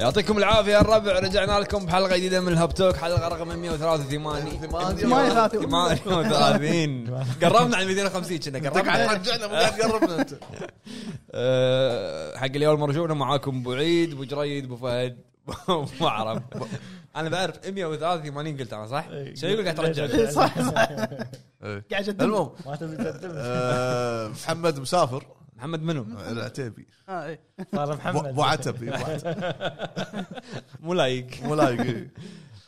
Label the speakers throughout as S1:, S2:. S1: يعطيكم العافيه يا الربع رجعنا لكم بحلقه جديده من الهاب توك حلقه رقم 183
S2: يعني
S1: 38 قربنا على 250 كنا قربنا
S3: رجعنا مو قاعد قربنا انت
S1: أه، حق اليوم مرجونا معاكم ابو عيد ابو جريد ابو فهد ما اعرف انا بعرف 183 قلت انا صح؟ شو يقول قاعد ترجع؟
S2: صح صح قاعد جد
S3: المهم
S4: ما تبي تقدم
S3: آه، محمد مسافر
S1: محمد منو؟
S3: العتيبي
S2: آه، إيه.
S4: صار
S3: بو-
S4: محمد
S3: بو عتب إيه، بو عتب.
S1: مو لايق
S3: مو لايق إيه.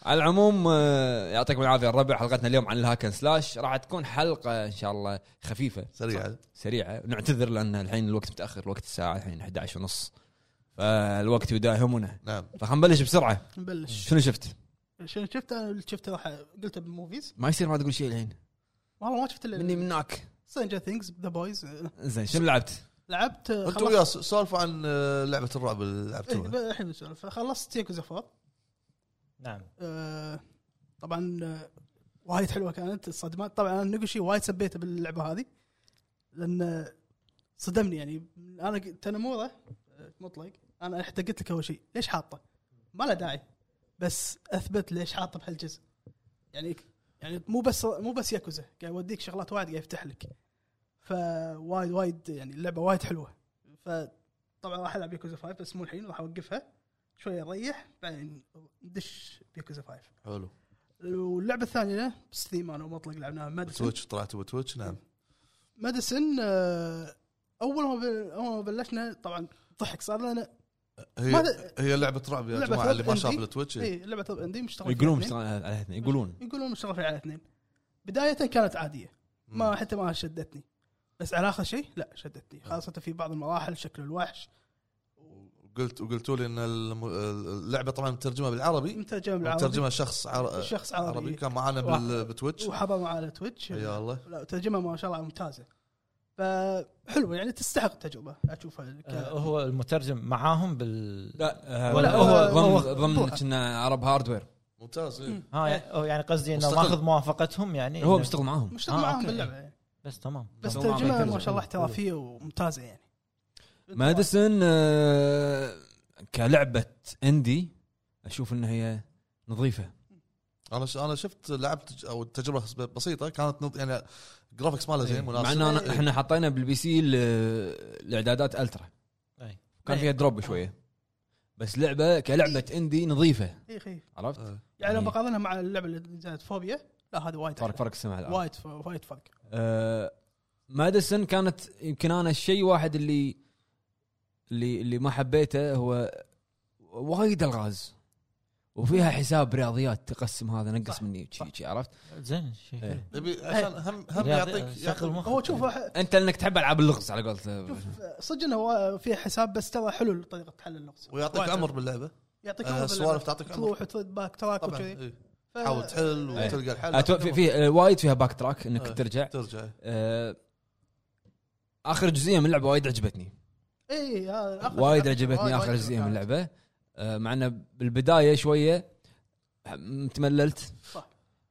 S1: على العموم آه، يعطيكم العافيه الربع حلقتنا اليوم عن الهاكن سلاش راح تكون حلقه ان شاء الله خفيفه
S3: سريع
S1: سريعه نعتذر لان الحين الوقت متاخر الوقت الساعه الحين 11 ونص فالوقت يداهمنا
S3: نعم
S1: فخلنا نبلش بسرعه
S2: نبلش
S1: شنو شفت؟
S2: شنو شفت انا اللي شفته راح قلته بالموفيز
S1: ما يصير ما تقول شيء الحين
S2: والله ما شفت الا
S1: مني مناك
S2: سنجر ثينجز ذا بويز
S1: زين شنو لعبت؟
S2: آه، لعبت آه،
S3: انتم وياه سولفوا عن آه، لعبه الرعب اللي
S2: إيه،
S3: لعبتوها
S2: ب- الحين بنسولف خلصت ياكوزا 4
S4: نعم
S2: آه، طبعا آه، وايد حلوه كانت الصدمات طبعا انا نقشي وايد سبيته باللعبه هذه لان آه، صدمني يعني انا ق- تنموره آه، مطلق انا حتى قلت لك اول شيء ليش حاطه؟ ما له داعي بس اثبت ليش حاطه بهالجزء يعني يعني مو بس مو بس ياكوزا قاعد يوديك شغلات وايد قاعد يفتح لك فوايد وايد يعني اللعبه وايد حلوه فطبعا راح العب ياكوزا 5 بس مو الحين راح اوقفها شويه اريح بعدين ندش ياكوزا 5
S3: حلو
S2: واللعبه الثانيه ستيم انا ومطلق لعبناها مادسن
S3: تويتش طلعت بتويتش نعم
S2: مادسن آه، اول ما بل- اول ما بلشنا طبعا ضحك صار لنا
S3: هي
S2: ما-
S3: هي لعبه رعب يا
S2: لعبة
S3: جماعه
S2: رعب
S3: اللي ما شاف
S2: indie.
S3: التويتش إيه.
S2: اي لعبه اندي مشتغل فيها
S1: يقولون
S2: اثنين.
S1: مشتغل على الاثنين يقولون
S2: يقولون مشتغل فيها على اثنين بدايه كانت عاديه ما
S3: مم.
S2: حتى ما شدتني بس على اخر شيء لا شدتني خاصه في بعض المراحل شكل الوحش
S3: قلت وقلتوا لي ان الم- اللعبه طبعا مترجمه بالعربي
S2: مترجم بالعربي
S3: مترجمه شخص عر...
S2: شخص عربي,
S3: عربي كان معانا بال- بتويتش
S2: وحضروا على تويتش
S3: يا الله
S2: لا ترجمه ما شاء الله ممتازه فحلوه يعني تستحق التجربه اشوفها ك-
S4: آه، هو المترجم معاهم بال
S1: لا
S4: ولا
S1: ولا
S4: هو-
S1: هو
S2: هو-
S1: ضمن ضمن
S2: بروحه.
S1: كنا عرب هاردوير
S3: ممتاز إيه.
S2: مم.
S4: ها يعني- هو يعني قصدي انه
S3: مستقل.
S4: ماخذ موافقتهم يعني
S1: هو
S4: إنه-
S1: بيشتغل معاهم
S2: مشتغل
S4: آه،
S2: معاهم
S4: أوكي.
S2: باللعبه يعني.
S4: بس تمام
S2: بس
S1: بالضبط.
S2: ترجمه
S1: بالضبط.
S2: ما شاء الله احترافيه وممتازه يعني
S1: مادسون آه، كلعبه اندي اشوف انها هي نظيفه
S3: انا ش... انا شفت لعبت او التجربه بس- بسيطه كانت نط... يعني جرافكس ماله زين
S1: مع
S3: مناسب
S1: ان أنا-
S3: إيه.
S1: احنا حطينا بالبي سي ال- الاعدادات الترا
S4: أي.
S1: كان
S2: إيه.
S1: فيها دروب شويه بس لعبه كلعبه اندي نظيفه
S2: اي اخي
S1: عرفت؟
S3: إيه.
S2: يعني لو
S1: إيه.
S2: بقارنها مع اللعبه اللي نزلت فوبيا لا هذا وايد
S1: فرق
S2: أحلى.
S1: فرق السماء والأرض.
S2: وايد ف- وايد فرق
S1: آه، ماديسون كانت يمكن انا الشيء واحد اللي اللي اللي ما حبيته هو وايد الغاز وفيها حساب رياضيات تقسم هذا نقص
S2: صح،
S1: مني وشي-
S2: صح.
S1: شي، عرفت؟
S4: زين شيء
S1: إيه.
S4: حلو.
S3: يبي عشان هم هم
S4: رياضي-
S3: يعطيك
S4: شغل
S3: يعطيك-
S4: مخ.
S2: هو شوف
S1: انت انك تحب العاب اللغز على آه، قولته
S2: شوف صدق انه وا- فيها حساب بس ترى حلو طريقه حل النقص
S3: ويعطيك
S2: وايد
S3: امر
S2: حلو.
S3: باللعبه
S2: يعطيك
S3: آه،
S2: امر
S3: سوالف تعطيك امر
S2: تروح وترد باك تراك
S3: طبعا
S2: وكذي
S3: إيه. تحاول تحل
S1: إيه.
S3: وتلقى الحل
S1: أتو- في, في آه، وايد فيها باك تراك انك
S3: إيه.
S1: ترجع
S3: ترجع
S1: آه، اخر جزئيه من اللعبه وايد عجبتني
S2: اي
S1: وايد عجبتني اخر جزئيه من اللعبه آه، مع انه بالبدايه شويه م- تمللت
S2: صح.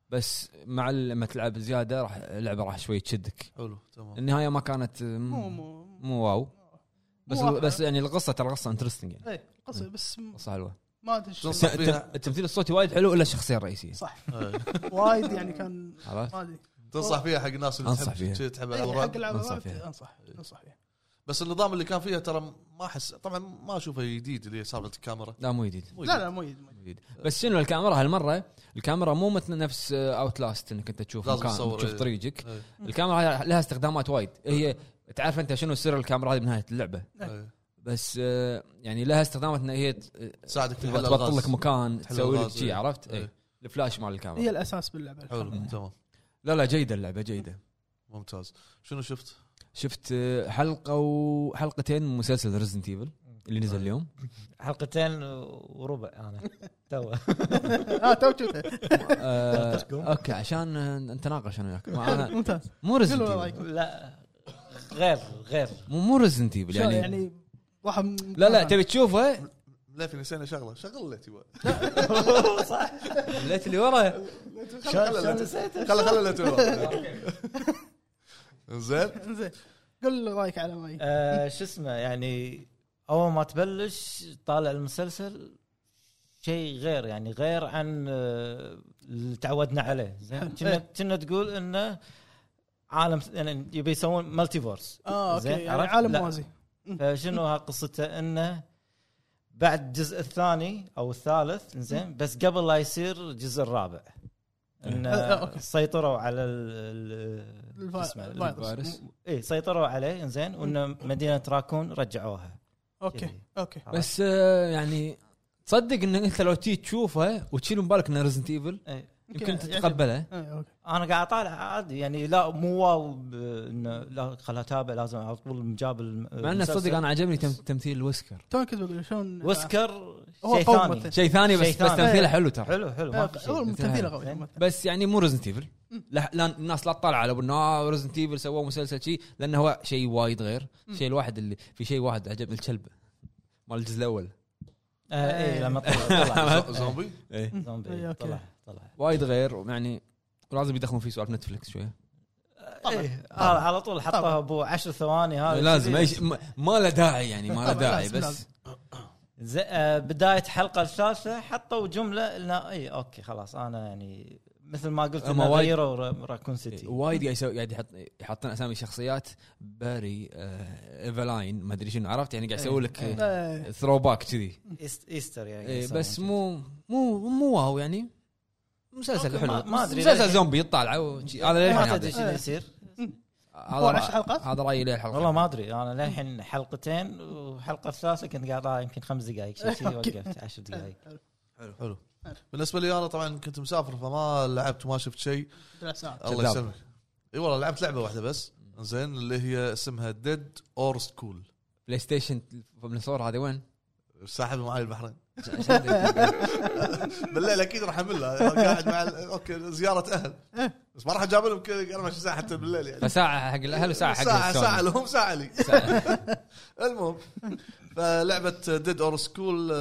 S1: بس مع ال- لما تلعب زياده راح اللعبه راح شوي تشدك
S3: حلو تمام
S1: النهايه ما كانت آه، م-
S2: مو مو
S1: مو واو بس
S2: مو واقع.
S1: بس يعني القصه ترى قصه انترستنج يعني
S2: اي إيه، قصدي بس م-
S1: قصه حلوه
S2: ما ادري شو-
S3: صح فيها.
S1: التمثيل الصوتي وايد حلو الا الشخصيه الرئيسيه
S2: صح
S3: إيه.
S2: وايد يعني كان
S1: عرفت
S2: ما ادري
S3: تنصح فيها حق الناس اللي
S1: أنصح
S3: تحب
S1: فيها.
S3: شي- تحب
S2: إيه، حق
S3: الالعاب
S2: العاب
S1: أنصح
S2: الرعب،
S1: فيها.
S2: انصح انصح فيها
S3: بس النظام اللي كان فيها ترى ما احس طبعا ما اشوفه جديد اللي هي سالفه الكاميرا
S1: لا مو جديد
S3: مو
S2: لا
S3: جديد.
S2: لا مو يد- مو يد.
S1: مو جديد بس شنو الكاميرا هالمره الكاميرا مو مثل نفس آه، اوت لاست انك انت تشوف
S3: لازم
S1: مكان
S3: تصور،
S1: تشوف
S3: إيه.
S1: طريقك
S3: إيه.
S1: الكاميرا لها استخدامات وايد هي تعرف انت شنو سر الكاميرا هذه بنهايه اللعبه
S3: إيه.
S1: بس آه، يعني لها استخدامات ان هي ت-
S3: تساعدك في حل
S1: تبطل
S3: الغاز.
S1: إيه، لك مكان
S3: تحل
S1: تسوي لك
S3: الغاز،
S1: شيء
S3: إيه.
S1: عرفت؟ إيه.
S3: إيه.
S1: الفلاش مال
S2: هي
S1: الكاميرا
S2: الاساس باللعبه
S3: حلو تمام
S1: لا لا جيده اللعبه جيده
S3: ممتاز شنو شفت؟
S1: شفت آه، حلقه وحلقتين من مسلسل ريزنت ايفل اللي نزل اليوم
S4: حلقتين وربع انا تو
S2: اه تو شفته
S1: آه،
S4: تشكو.
S1: اوكي عشان آه، نتناقش انا وياك ما أنا-
S2: ممتاز
S1: مو ريزنت
S2: قولوا
S1: ايفل
S2: رأيكم.
S4: لا غير غير
S1: مو مو ريزنت ايفل
S2: يعني
S1: يعني
S2: يعني راح م-
S1: لا لا تبي تشوفه
S3: ليفي نسينا شغله شغل ليتي بقى.
S1: الليت اللي ورا
S3: خلا خلا ليتي. خلا خلا ليتي ورا. زين
S2: زين قول رايك على ماي
S4: آه، شو اسمه يعني اول ما تبلش طالع المسلسل شيء غير يعني غير عن آه، اللي تعودنا عليه زين
S2: حلو.
S4: كنا
S2: إيه.
S4: كنا تقول انه عالم يعني يبي يسوون مالتي فورس
S2: اه اوكي
S4: زين،
S2: يعني
S4: عرفت؟
S2: عالم
S4: لا.
S2: موازي
S4: فشنو ها قصته انه بعد الجزء الثاني او الثالث زين بس قبل لا يصير الجزء الرابع
S2: آه،
S4: انه
S2: أوكي.
S4: سيطروا على ال- ال-
S2: الفا-
S4: شو اسمه
S2: الفيروس.
S1: فارس
S4: اي سيطروا عليه انزين وانه مدينه راكون رجعوها
S2: اوكي
S4: كذي.
S2: اوكي
S1: بس آه، يعني تصدق ان انت لو تي تشوفها وتشيل من بالك انه ريزنت ايفل
S4: إيه.
S1: يمكن
S2: يعجب.
S1: تتقبلها
S2: آه، اوكي
S4: انا قاعد اطالع عادي يعني لا مو واو ب- انه لا خل اتابع لازم على طول جاب الم-
S1: مع انه
S4: المسلسل.
S1: تصدق انا عجبني تم- تمثيل الوسكر
S2: توني كنت بقول شلون آه،
S4: وسكر
S2: هو
S4: شيء
S2: قوي
S4: ثاني
S2: مثل.
S1: شيء ثاني بس
S4: شيء
S1: بس
S4: ثاني.
S1: تمثيله حلو ترى
S4: حلو حلو ما
S2: آه،
S4: في شيء
S2: هو تمثيله قوي
S4: زين.
S2: عامة.
S1: بس يعني مو ريزنت ايفل لا, لا الناس لا تطالع على انه ريزنت ايفل سووا مسلسل شيء لانه هو شيء وايد غير الشيء الواحد اللي في شيء واحد عجبني الكلب مال الجزء الاول
S4: آه،
S1: إيه.
S4: اي لما طلع طلع
S3: ز- زومبي
S1: ايه
S4: زومبي
S2: إي، أوكي.
S4: طلع طلع
S1: وايد غير يعني لازم يدخلون فيه سوالف نتفلكس شويه
S4: إي، آه، على طول
S2: طبعاً.
S4: حطها ابو عشر ثواني هذا
S1: لازم
S4: كذي.
S1: أيش ما ما له داعي يعني ما له
S2: طبعاً،
S1: داعي
S2: لازم،
S1: بس
S2: لازم.
S4: زي- آه، بدايه الحلقه الثالثه حطوا جمله لا اي اوكي خلاص انا يعني مثل ما قلت
S1: أما
S4: هم
S1: وايد- إيه،
S4: غيروا را- راكون سيتي
S1: وايد قاعد يسوي قاعد يحط يحطون اسامي شخصيات باري آه، ايفلاين ما ادري شنو عرفت يعني قاعد يسوي لك
S4: إيه.
S2: آه،
S1: ثرو باك كذي
S4: إيست- ايستر يعني
S1: إيه،
S4: يسمونه.
S1: بس مو مو مو واو يعني مسلسل
S4: أوكي،
S1: حلو
S4: ما- ما أدري
S1: مسلسل
S4: ليش.
S1: زومبي يطالع وشي. انا للحين
S4: ما
S1: إيه، هذا-
S4: تدري شنو يصير
S1: هذا
S2: هو عشر
S1: رأ-
S2: حلقات
S1: هذا رايي للحلقه
S4: والله ما ادري انا للحين حلقتين والحلقه الثالثه كنت قاعد يمكن خمس دقائق شيء شي
S2: أوكي.
S4: وقفت عشر
S2: إيه.
S4: دقائق
S3: حلو حلو بالنسبه لي انا طبعا كنت مسافر فما لعبت وما شفت شيء
S2: ثلاث ساعات
S3: الله
S1: كذاب.
S3: يسلمك اي والله لعبت لعبه واحده بس زين اللي هي اسمها ديد اور سكول
S1: بلاي ستيشن بالنصور هذه وين؟
S3: ساحب معي البحرين
S1: عشان- عشان-
S3: بالليل اكيد راح احملها أنا قاعد مع ال- اوكي زياره اهل بس ما راح اجاب لهم كل 24 ساعه حتى بالليل يعني
S1: فساعه حق الاهل وساعه حق
S3: ساعه
S1: السوني.
S3: ساعه لهم ساعه لي
S1: ساعة.
S3: المهم فلعبه ديد اور سكول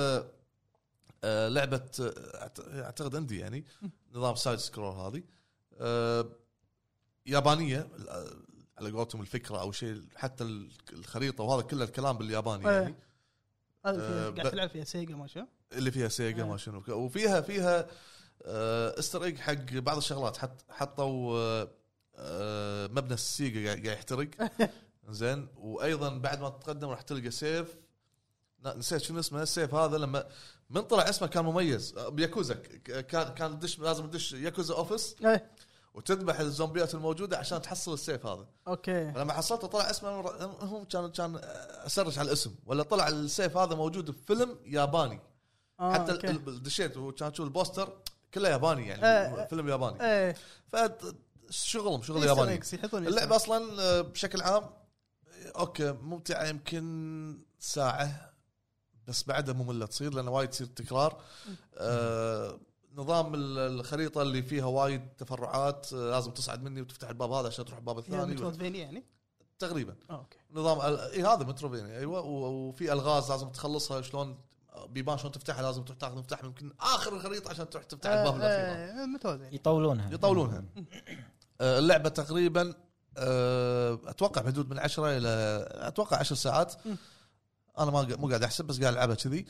S3: لعبه آه، أعت- اعتقد عندي يعني نظام سايد سكرول هذه آه، يابانيه آه، على قولتهم الفكره او شيء حتى ال- الخريطه وهذا كله الكلام بالياباني
S2: إيه.
S3: يعني
S2: هذا
S3: آه،
S2: فيها-
S3: ب-
S2: قاعد تلعب فيها سيجا ما شو
S3: اللي فيها سيجا ما شنو وفيها فيها آه، استر ايج حق بعض الشغلات حط حطوا آه، آه، مبنى السيجا قاعد قاعد يحترق زين وايضا بعد ما تتقدم راح تلقى سيف لا، نسيت شنو اسمه السيف هذا لما من طلع اسمه كان مميز آه، بياكوزا ك- كان كان دش لازم تدش ياكوزا اوفيس
S2: إيه،
S3: وتذبح الزومبيات الموجوده عشان تحصل السيف هذا
S2: اوكي
S3: لما حصلته طلع اسمه من- هم كان كان اسرش على الاسم ولا طلع السيف هذا موجود في فيلم ياباني
S2: آه،
S3: حتى
S2: أوكي.
S3: ال- ال- دشيت وكان تشوف البوستر كله ياباني يعني
S2: آه، آه.
S3: فيلم ياباني
S2: ايه
S3: فشغلهم شغل ياباني
S2: Easter eggs، يحطون
S3: اللعبه
S2: Easter eggs.
S3: اصلا آه، بشكل عام آه، اوكي ممتعه يمكن ساعه بس بعدها ممله تصير لان وايد تصير تكرار آه نظام ال- الخريطه اللي فيها وايد تفرعات آه، لازم تصعد مني وتفتح الباب هذا عشان تروح الباب
S2: هي
S3: الثاني
S2: مترويدفينيا يعني
S3: تقريبا
S2: آه، اوكي
S3: نظام ال- اي هذا متروفينيا ايوه و- وفي الغاز لازم تخلصها شلون بيبان شلون تفتحها لازم تروح تاخذ مفتاح يمكن اخر الخريطه عشان تروح تفتح الباب الاخير
S2: آه، آه، متوازي
S4: يطولونها
S3: يطولونها آه، اللعبه تقريبا آه، اتوقع بحدود من 10 الى اتوقع 10 ساعات
S2: مم.
S3: انا ما قا- مو قاعد احسب بس قاعد العبها كذي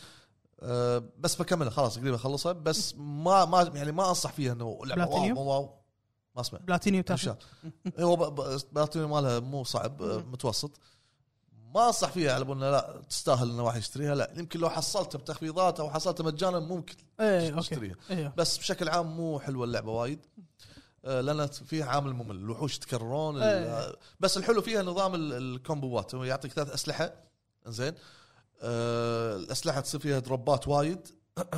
S3: آه، بس بكملها خلاص قريب اخلصها بس ما ما يعني ما انصح فيها انه لعبه واو
S2: بلاتينيوم؟
S3: مو واو ما اسمع
S2: بلاتينيوم تاخذ
S3: تمشات هو ب- ب- باتريو مالها مو صعب آه، متوسط ما انصح فيها على بالنا لا تستاهل ان واحد يشتريها لا يمكن لو حصلتها بتخفيضات او حصلتها مجانا ممكن
S2: ايه اوكي
S3: تشتريها
S2: ايوه
S3: بس بشكل عام مو حلوه اللعبه وايد آه، لان فيها عامل ممل الوحوش تكررون ال-
S2: إيه.
S3: بس الحلو فيها نظام ال- الكومبوات هو يعطيك ثلاث اسلحه زين آه، الاسلحه تصير فيها دروبات وايد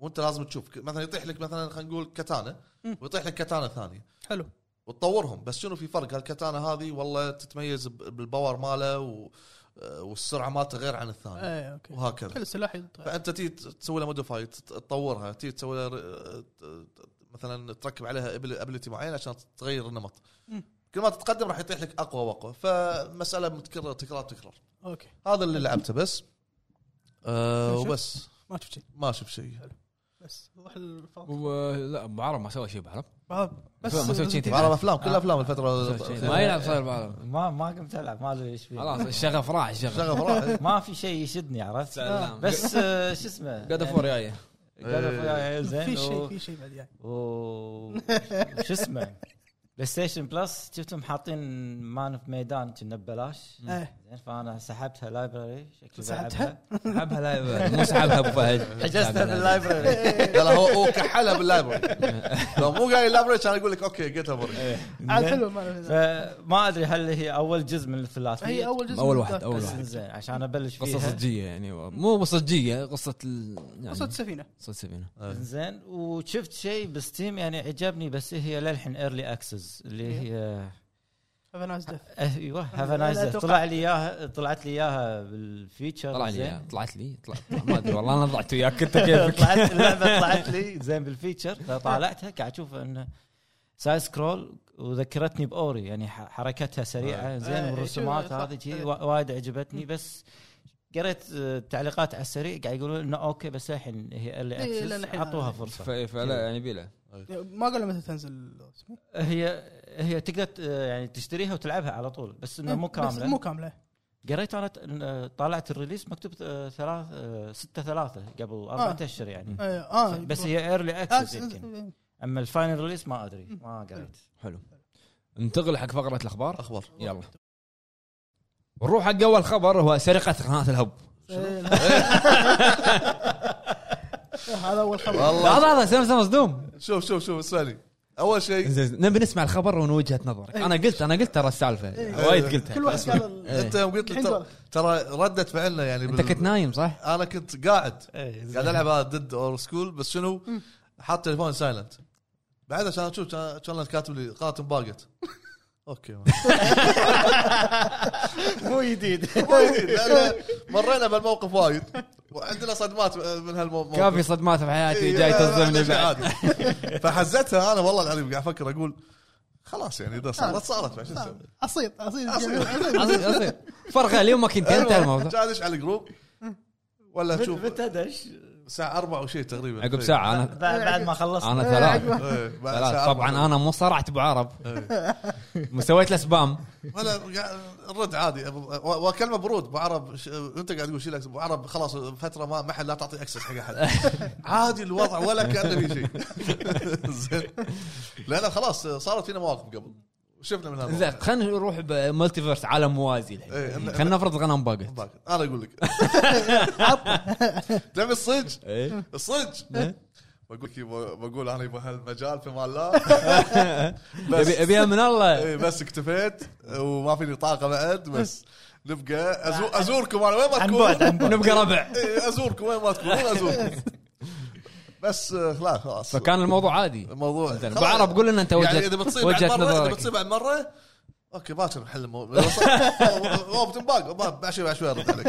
S3: وانت لازم تشوف مثلا يطيح لك مثلا خلينا نقول كتانه
S2: مم.
S3: ويطيح لك كتانه ثانيه
S2: حلو
S3: وتطورهم بس شنو في فرق هالكتانه هذه والله تتميز ب- بالباور ماله و... والسرعه مالته غير عن
S1: طيب.
S3: الثاني
S2: ايه اوكي
S3: وهكذا
S2: كل سلاح يتغير.
S3: فانت تي تسوي لها موديفاي تت- تطورها تي تسوي لها ر- ت- مثلا تركب عليها ابيلتي معين عشان تغير النمط
S2: مم.
S3: كل ما تتقدم راح يطيح لك اقوى واقوى فمساله متكرره تكرار تكرار
S2: اوكي
S3: هذا اللي لعبته بس أه
S2: ما شفت؟
S3: وبس
S2: ما شفت شيء
S3: ما شفت شيء
S2: بس وضح الفرق
S1: و- لا ابو عرب ما سوى شيء بعرب
S2: بعض. آه، بس
S1: ما سويت شيء.
S2: Resident Evil.
S3: بعرف افلام كل
S4: آه.
S3: افلام الفتره
S1: ما يلعب صاير بعرب
S4: ما ما قمت العب ما ادري ايش
S1: خلاص
S4: فيه
S1: الشغف راح الشغف
S3: شغف راح
S4: ما في شيء يشدني عرفت
S1: سلام.
S4: بس آه، شو اسمه
S1: قد
S4: يعني
S1: فور جايه
S4: قالوا
S3: إيه.
S4: وياي زين
S2: في شيء
S4: و-
S2: في شيء بعد يعني
S4: و- شو اسمه بلاي ستيشن بلس شفتهم حاطين مان في ميدان كنا ببلاش
S2: إيه.
S4: زين فانا سحبتها لايبرري شكلي
S2: سحبتها؟
S4: بلعبها.
S1: سحبها لايف مو سحبها ابو فهد
S4: حجزتها
S1: سحبها
S4: باللايبرري
S3: لا لا هو هو كحلها باللايبرري لو مو قايل لايبرري كان اقول لك اوكي جيتها بري
S2: عاد
S4: زين.
S2: آه، حلو ما
S4: فما ادري هل هي اول جزء من
S2: هي
S4: الثلاثيه
S2: اول جزء
S1: أول
S2: من
S1: واحد،
S2: ذاك.
S1: أول
S4: بس
S1: واحد.
S4: زين عشان ابلش
S1: قصه
S4: فيها
S1: صجيه يعني مو صجيه قصه ال... يعني
S2: قصه السفينه
S1: قصه سفينه
S3: آه.
S4: زين وشفت شيء بستيم يعني عجبني بس هي للحين ايرلي اكسس اللي هي
S2: هاف نايس ديث
S4: ايوه هاف
S2: إيه. لا
S4: نايس
S2: أتوقع.
S4: طلع لي اياها طلعت لي اياها بالفيتشر
S1: طلع لي
S4: زين.
S1: إياها، طلعت لي طلع طلع- ما ادري والله انا ضعت وياك انت كيفك
S4: طلعت اللعبه طلعت لي زين بالفيتشر فطالعتها قاعد اشوف انه سايد سكرول وذكرتني باوري يعني ح- حركتها سريعه
S3: آه.
S4: زين
S2: آه،
S4: والرسومات
S2: شوف،
S4: هذه
S2: صح.
S4: شي وا- وايد عجبتني بس قريت آه، تعليقات على السريع قاعد يقولون انه اوكي بس الحين هي
S2: إيه، لأن
S4: اللي
S2: الحين
S4: اعطوها
S2: هذه.
S4: فرصه
S1: ف- فلا يعني بيله
S2: ما قالوا متى تنزل اسمه.
S4: هي هي تقدر ت- يعني تشتريها وتلعبها على طول بس انه مو
S2: إيه، بس مو
S4: كامله
S2: كامله
S4: قريت انا ت- إن- آه، طالعت الريليس مكتوب آه، ثلاث آه، ستة ثلاثة قبل أربعة
S2: آه.
S4: اشهر يعني
S2: إيه، اه
S4: بس هي ايرلي اكسس يمكن
S2: آه،
S4: اما الفاينل ريليس ما ادري ما قريت
S1: حلو ننتقل حق فقره الاخبار
S3: اخبار
S1: يلا نروح حق اول خبر هو سرقه قناه الهب
S2: إيه، لا. هذا اول خبر
S1: لا
S3: والله
S1: لا لا سامسون مصدوم
S3: شوف شوف شوف اسمعني اول شيء
S1: زين، زين، نبي نسمع الخبر ومن وجهه نظرك انا قلت انا قلت ترى السالفه
S3: إيه.
S1: وايد قلتها
S2: كل واحد قال ال-
S1: إيه.
S3: انت يوم قلت لي
S2: الحين
S3: ترى-
S2: دورك.
S3: ترى رده فعلنا يعني
S1: انت
S3: بال-
S1: كنت إيه. نايم صح؟
S3: انا كنت قاعد قاعد
S4: قاعد
S3: العب هذا ديد اور سكول بس شنو حاط تليفون سايلنت بعدها عشان اشوف كان كان كاتب لي قناه انباقت اوكي ما-
S4: مو جديد
S3: ما يدري، لأن مرينا بالموقف وايد وعندنا صدمات من هالموقف
S1: كافي صدمات في حياتي
S3: إيه،
S1: جاي
S3: لا، لا،
S1: تصدمني
S3: شيء
S1: بعد
S3: عادي. فحزتها انا والله العظيم قاعد افكر اقول خلاص يعني اذا صارت صارت بعد شو نسوي؟
S2: عصير عصير
S3: عصير.
S2: جميل.
S1: عصير عصير فرقه اليوم ما كنت
S3: أيوة.
S1: انت الموضوع
S3: قاعد أدش على الجروب ولا شوف
S4: متى دش
S3: الساعه 4 وشيء تقريبا
S1: عقب ساعه انا
S4: بعد بعد ما خلصت
S1: انا
S2: إيه،
S1: ثلاث
S2: عقب-
S3: إيه، بعد
S1: ثلاث
S3: الساعة
S1: طبعا
S3: 4.
S1: انا مو صرعت ابو عرب
S3: إيه.
S1: مسويت له سبام
S3: ولا قاعد- الرد عادي و- واكلمه برود ابو عرب ش- انت قاعد تقول شيل أكسس. ابو عرب خلاص فتره ما ما حد لا تعطي اكسس حق احد عادي الوضع ولا كانه في شيء زين لان خلاص صارت فينا مواقف قبل شفنا من هذا
S1: زين
S3: الموضوع.
S1: خلينا نروح بمالتيفيرس عالم موازي الحين
S3: إيه، إن-
S1: خلينا نفرض غنم باقت
S3: باكر. انا اقول لك تبي الصج
S1: ايه
S3: الصج
S1: إيه.
S3: بقول لك بقول انا يبغى هالمجال في مال لا بس
S1: ابي ابيها من الله
S3: إيه، بس اكتفيت وما فيني طاقه بعد بس نبقى أزو ازوركم انا وين ما
S4: عن بعد
S3: تكونون
S4: عن بعد
S1: نبقى ربع
S3: إيه، ازوركم وين ما تكونون ازوركم بس آه، لا خلاص
S1: فكان الموضوع عادي
S3: الموضوع
S1: زين
S3: خلاص.
S1: ابو عرب قول لنا انت
S3: يعني
S1: وجهه
S3: اذا بتصير بعد
S1: وجهه
S3: مره اذا
S1: نظرك
S3: بتصير بعد مره اوكي باكر نحل الموضوع هو بتنباق بعد شوي بعد شوي ارد عليك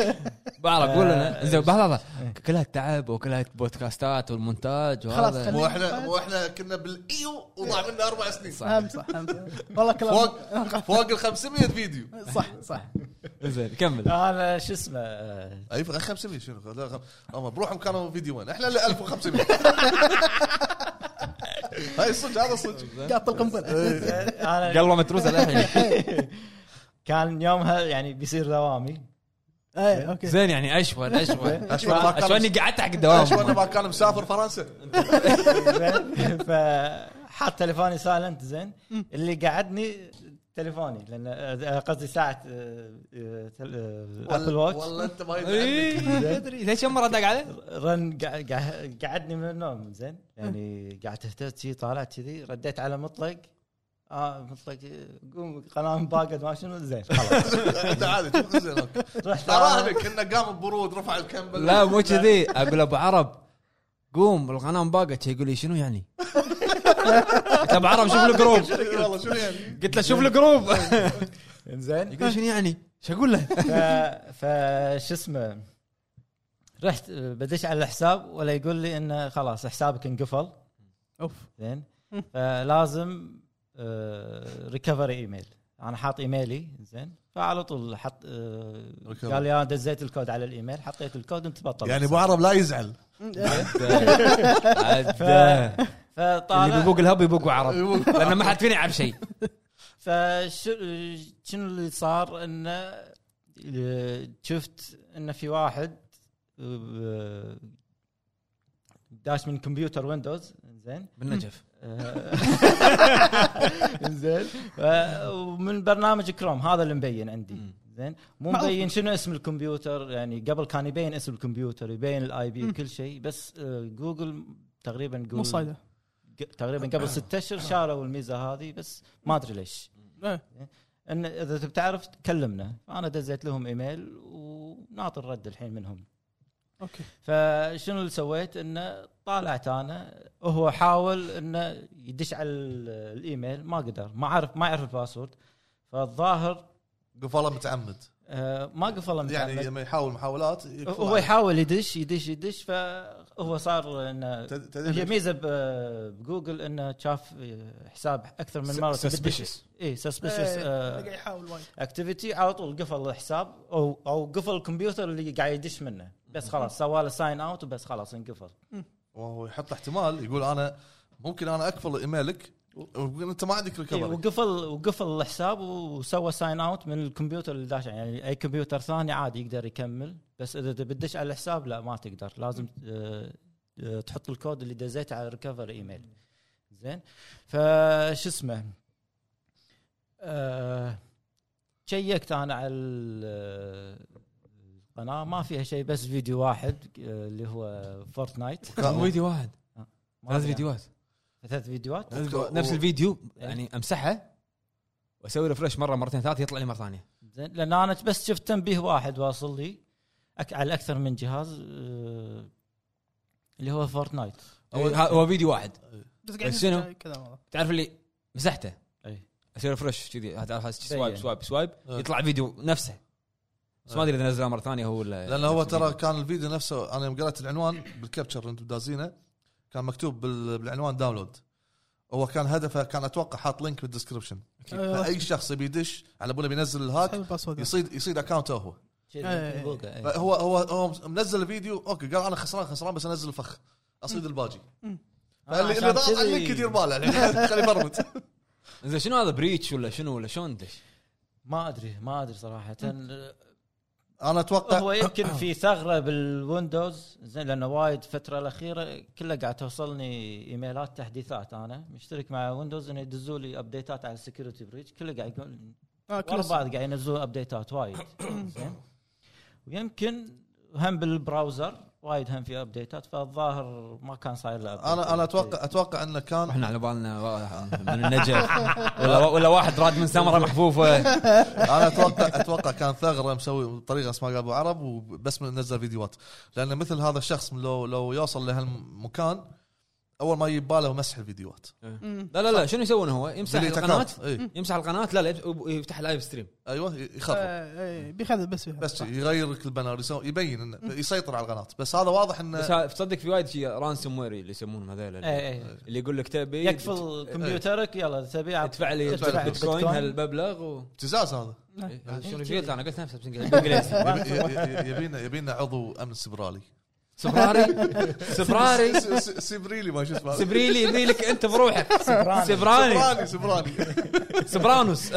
S1: ابو عرب قول
S3: إيه.
S1: لنا زين لحظه لحظة. كلها تعب وكلها بودكاستات والمونتاج
S2: خلاص،
S1: وهذا
S2: خلي-
S3: مو احنا مو احنا كنا بالايو وضاع منا اربع سنين
S2: هم صح هم صح والله
S3: فوق
S2: كلام
S3: فوق ال 500 فيديو
S2: صح صح
S1: زين كمل
S4: انا شو اسمه آه،
S3: اي 500 شنو لا، خم- اما بروحهم كانوا فيديو وين احنا اللي 1500 هاي صدق هذا صدق
S2: قاط القنبله
S4: انا
S1: قلبه متروسه للحين
S4: كان يومها يعني بيصير دوامي
S2: ايه اوكي
S1: زين يعني اشون اشون
S3: أشون ما كان-
S1: اشون إني قعدت حق
S3: شو انا
S1: الدوام
S3: ما كان مسافر فرنسا
S4: زين، فحط تليفوني سايلنت زين اللي قعدني تليفوني لان آه، قصدي آه، ساعه ابل واتش
S3: والله انت ما يدري
S1: إيه، ما ادري ليش كم مره دق عليه؟
S4: رن قع- قع- قعدني من النوم زين يعني قعدت اهتز شي طالعت كذي رديت على مطلق اه مطلق آه، قوم قناه باقد ما شنو زين خلاص
S3: انت عادي زين اوكي
S4: رحت على-
S3: اراهنك انه قام ببرود رفع الكمبل
S1: لا مو كذي اقول ابو عرب قوم الغنم باقت يقول لي شنو يعني؟ قلت ابو عرب شوف الجروب
S3: والله شنو يعني
S1: قلت له شوف الجروب
S4: زين
S1: يقول لي شنو يعني؟ شو اقول له؟
S4: آه، ف- فش اسمه رحت آه، بدش على الحساب ولا يقول لي انه خلاص حسابك انقفل
S2: اوف
S4: زين فلازم آه، ريكفري ايميل انا حاط ايميلي زين فعلى طول حط آه،
S3: Recovery.
S4: قال لي انا دزيت الكود على الايميل حطيت الكود انت بطل
S3: يعني ابو عرب لا يزعل
S1: عاد اللي
S4: فطالع
S1: بيبوق الهب يبوق عرب لان ما حد فينا يعرف شيء
S4: فشنو اللي صار انه آه، شفت انه في واحد آه، داش من كمبيوتر ويندوز آه، زين
S1: بالنجف
S4: زين و- آه، ومن برنامج كروم هذا اللي مبين عندي
S1: مم.
S4: زين مو
S2: معروف.
S4: مبين شنو اسم الكمبيوتر يعني قبل كان يبين اسم الكمبيوتر يبين الاي بي
S2: مم.
S4: وكل شيء بس آه، جوجل تقريبا
S2: مو
S4: جوجل
S2: صايده
S4: ق- تقريبا قبل ستة اشهر شالوا الميزه هذه بس ما ادري ليش
S2: إيه.
S4: ان اذا تبي تعرف كلمنا فانا دزيت لهم ايميل وناطر رد الحين منهم
S2: اوكي
S4: فشنو اللي سويت انه طالعت انا هو حاول انه يدش على ال- الايميل ما قدر ما عرف ما يعرف الباسورد فالظاهر
S3: قفله متعمد
S4: آه، ما قفل
S3: يعني
S4: متعمد.
S3: لما يحاول محاولات يقفل
S4: هو
S3: عليه.
S4: يحاول يدش يدش يدش فهو صار انه
S3: تد- تدري
S4: هي
S3: ليش؟
S4: ميزه ب- بجوجل انه شاف آه، حساب اكثر من مره
S1: سسبشس
S4: اي
S2: إيه، قاعد
S4: سسبشس
S2: يحاول وايد
S4: اكتيفيتي آه، على طول قفل الحساب او او قفل الكمبيوتر اللي قاعد يدش منه بس خلاص سوى له ساين اوت وبس خلاص انقفل
S3: وهو يحط احتمال يقول انا ممكن انا اقفل ايميلك وانت ما عندك
S4: إيه،
S3: ريكفري
S4: وقفل وقفل الحساب وسوى ساين اوت من الكمبيوتر اللي داش عليه. يعني اي كمبيوتر ثاني عادي يقدر يكمل بس اذا تبي تدش على الحساب لا ما تقدر لازم آه، آه، تحط الكود اللي دزيته على ريكفر ايميل زين فش اسمه آه، شيكت انا على ال- القناه ما فيها شيء بس فيديو واحد آه، اللي هو فورتنايت
S1: مو فيديو واحد
S4: ما
S1: ثلاث
S4: أدري.
S1: فيديوهات
S4: ثلاث فيديوهات
S1: ثلاث
S3: و-
S1: فيديو- نفس الفيديو يعني امسحه واسوي ريفرش مره مرتين ثلاث يطلع لي مره ثانيه
S4: زين لان انا بس شفت تنبيه واحد واصل لي أك على اكثر من جهاز آه، اللي هو فورتنايت
S1: هو- ها- هو فيديو واحد
S2: بس قاعد
S1: بس شنو؟
S2: يسوي كذا والله
S1: تعرف اللي مسحته
S4: اي
S1: اسوي ريفرش كذي تعرف سوايب
S4: بين.
S1: سوايب سوايب
S3: إيه.
S1: يطلع فيديو نفسه بس ما ادري اذا نزله مره ثانيه هو ولا
S3: لان هو ترى كان الفيديو نفسه انا يوم قرأت العنوان بالكابتشر اللي انتم دازينه كان مكتوب بال- بالعنوان داونلود هو كان هدفه كان اتوقع حاط لينك بالدسكربشن
S2: أيوة.
S3: اي شخص يبي يدش على باله بينزل الهاك
S2: سحب الباسورد
S3: يصيد يصيد اكونته هو
S2: إي.
S1: إيه.
S4: فورتنايت
S3: فهو هو هو منزل الفيديو اوكي قال انا خسران خسران بس انزل الفخ اصيد الباجي
S2: مم. آه،
S3: فاللي اللي ضاغط على اللينك يدير باله يعني خليه يبرمج
S1: زين شنو هذا بريتش ولا شنو ولا شلون ليش؟
S4: ما ادري ما ادري صراحه آه،
S3: انا اتوقع
S4: هو يمكن في ثغره بالويندوز زين لانه وايد الفتره الاخيره كلها قاعد توصلني ايميلات تحديثات انا مشترك مع ويندوز انه يدزوا لي ابديتات على السكيورتي بريتش كله قاعد يقول
S2: آه،
S4: ورا
S2: كله
S4: بعض قاعد ينزلون ابديتات وايد زين ويمكن هم بالبراوزر وايد هم في ابديتات فالظاهر ما كان صاير له update.
S3: انا انا اتوقع اتوقع انه كان
S1: احنا على بالنا والله من النجف ولا ولا واحد راد من سمره محفوفه
S3: انا اتوقع اتوقع كان ثغره مسوي بطريقه اسمها قال ابو عرب وبس من- نزل فيديوهات لان مثل هذا الشخص لو لو يوصل لهالمكان اول ما يجيب باله هو مسح الفيديوهات
S2: مم.
S1: لا لا لا شنو يسوون هو يمسح
S3: ديليت
S1: القناه
S3: أكاونت. إيه.
S1: يمسح القناه لا لا يب- يفتح لايف ستريم
S3: ايوه يخرب
S2: آه، إيه، بيخذ بس بيخذ.
S3: بس
S2: صح.
S3: يغير لك البنر يسو- يبين انه يسيطر على القناه بس هذا واضح
S1: بس
S3: انه
S1: ها- تصدق في وايد شيء رانسوم وير اللي يسمونهم هذول
S4: إيه
S1: اللي
S4: إيه.
S1: اللي يقول لك تبي
S4: يقفل كمبيوترك يلا تبي أعط-
S1: ادفع لي
S4: ادفع لي
S1: بيتكوين
S4: بيتكوين.
S1: هالمبلغ و
S3: ابتزاز هذا
S1: إيه، هذا شنو ايش قلت انا قلت نفسه بس بالانجليزي
S3: يبي- ي- ي- يبينا يبينا عضو امن سبرالي
S1: سبراري سبراري
S3: س- س- سبريلي ما شو اسمه هذا.
S1: سبريلي يبي لك انت بروحك
S4: سبراني.
S1: سبراني
S3: سبرالي سبرالي
S1: سبرانوس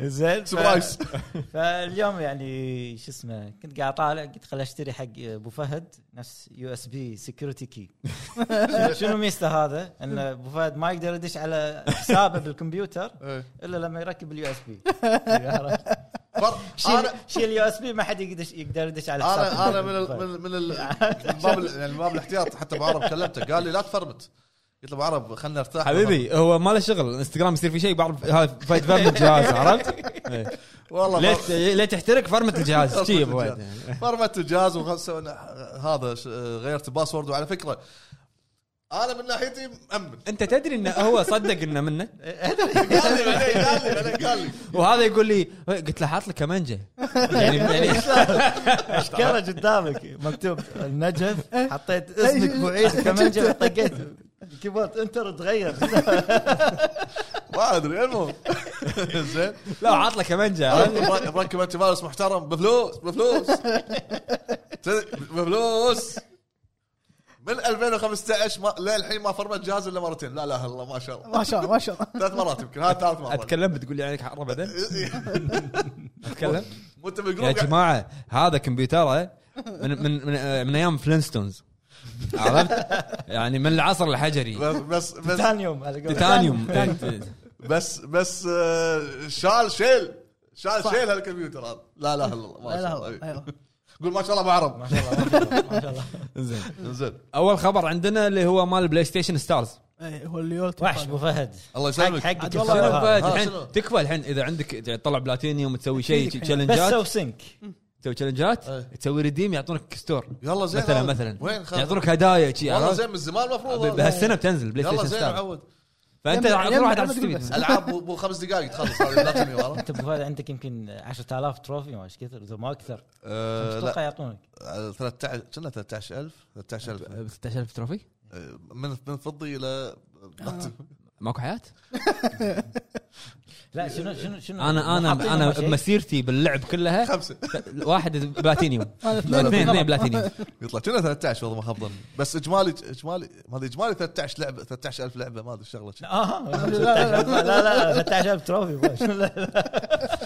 S4: زين ف-
S3: سبرايز
S4: فاليوم يعني شو اسمه كنت قاعد طالع قلت خل اشتري حق ابو فهد نفس يو اس بي سكيورتي كي شنو ميزته هذا؟ ان ابو فهد ما يقدر يدش على حسابه بالكمبيوتر
S3: إيه.
S4: الا لما يركب اليو اس بي
S3: فرق. انا
S4: شيل شيل يو اس بي ما حد يقدر يقدر يدش على حسابك
S3: انا انا من ال من ال من ال- من باب ال- يعني من باب الاحتياط حتى ابو عرب كلمته قال لي لا تفرمت قلت له ابو عرب خلنا نرتاح
S1: حبيبي هو ما له شغل الانستغرام يصير فيه شيء بعرف هذا فايت فرمت الجهاز عرفت؟ إيه.
S3: والله
S1: ليت
S3: فر-
S1: ليت تحترق فرمت الجهاز
S3: فرمت
S1: شي
S3: الجهاز. فرمت الجهاز وخلص- هذا ش- غيرت الباسورد وعلى فكره انا من ناحيتي مأمن
S1: انت تدري انه هو صدق انه منه
S3: قال لي بعدين قال لي بعدين قال لي
S1: وهذا يقول لي قلت له حاط لك كمانجه يعني يعني
S4: اشكاله قدامك مكتوب النجف حطيت اسمك بعيد كمانجه طقيت كيبورد انتر تغير
S3: ما ادري المهم زين
S1: لا حاط له كمانجه عرفت؟
S3: مرك- مركب انت فارس محترم بفلوس بفلوس تد- بفلوس من 2015 ما للحين ما فرمت جهاز الا مرتين لا لا الله ما شاء الله
S2: ما شاء الله ما شاء الله
S3: ثلاث مرات يمكن هذا ثالث مره
S1: اتكلم بتقول لي يعني عليك حق ابدا اتكلم
S3: وانت
S1: يا
S3: بالجروب قاعد-
S1: إيه، جماعه هذا كمبيوتره من من من, من ايام فلينستونز عرفت؟ يعني من العصر الحجري
S3: بس بس
S4: تيتانيوم على قولة.
S1: تيتانيوم
S3: بس بس آه، شال شيل شال
S2: صح.
S3: شيل هالكمبيوتر هذا لا لا الله ما
S2: لا لا
S3: شاء
S2: والله،
S3: الله
S2: لا والله.
S3: قول ما شاء الله ابو
S4: ما
S3: عرب
S4: شاء الله ما شاء الله، ما شاء الله
S1: زين
S3: زين
S1: اول خبر عندنا اللي هو مال بلاي ستيشن ستارز
S2: إيه، هو اللي يولت
S4: وحش ابو فهد
S3: الله
S4: حق
S3: يسلمك
S4: حقك
S2: عاد
S1: شنو
S2: والله
S4: الخبر هذا.
S1: بعد؟
S3: شنو؟
S1: الحين تكفى الحين اذا عندك تطلع بلاتينيوم تسوي شيء
S2: أكيد.
S4: بس
S1: تشالنجات
S4: سو سينك
S1: تسوي تشالنجات
S3: إيه.
S1: تسوي ريديم يعطونك ستور
S3: يلا زين
S1: مثلا
S3: هذا.
S1: مثلا
S3: وين خالد؟
S1: يعطونك هدايا شي
S3: والله
S1: عرفت؟
S3: زين من زمان المفروض
S1: ب-
S3: هذا.
S1: بهالسنه بتنزل بلاي
S3: يلا
S1: ستيشن
S3: زين
S1: ستار
S3: عود
S1: فانت
S2: يلا،
S1: راح
S2: يلا،
S1: تروح على
S2: يلا،
S1: ستيم.
S2: يلا.
S3: العاب مو- مو خمس دقائق تخلص هذه البلاتينيوم عرفت؟
S4: انت ابو فهد عندك يمكن 10000 تروفي ما ايش كثر اذا ما اكثر
S3: آه، لا
S4: اتوقع يعطونك
S3: 13 كنا 13000 13000
S1: ب 16000 تروفي
S3: آه، من من فضي الى بلاتينيوم.
S1: ماكو حياه
S4: لا شنو شنو شنو
S3: نعم،
S1: انا انا
S4: حاطين
S1: انا
S4: هم شيء؟
S1: بمسيرتي باللعب كلها
S3: خمسه
S1: واحد بلاتينيوم اثنين اثنين بلاتينيوم
S3: يطلع كنا 13 والله ما خاب ظني بس اجمالي اجمالي ما ادري اجمالي 13 لعبه 13000 لعبه ما ادري الشغله شي.
S4: اه
S2: لا،
S4: لا لا لا 13000 تروفي شنو لا، لا.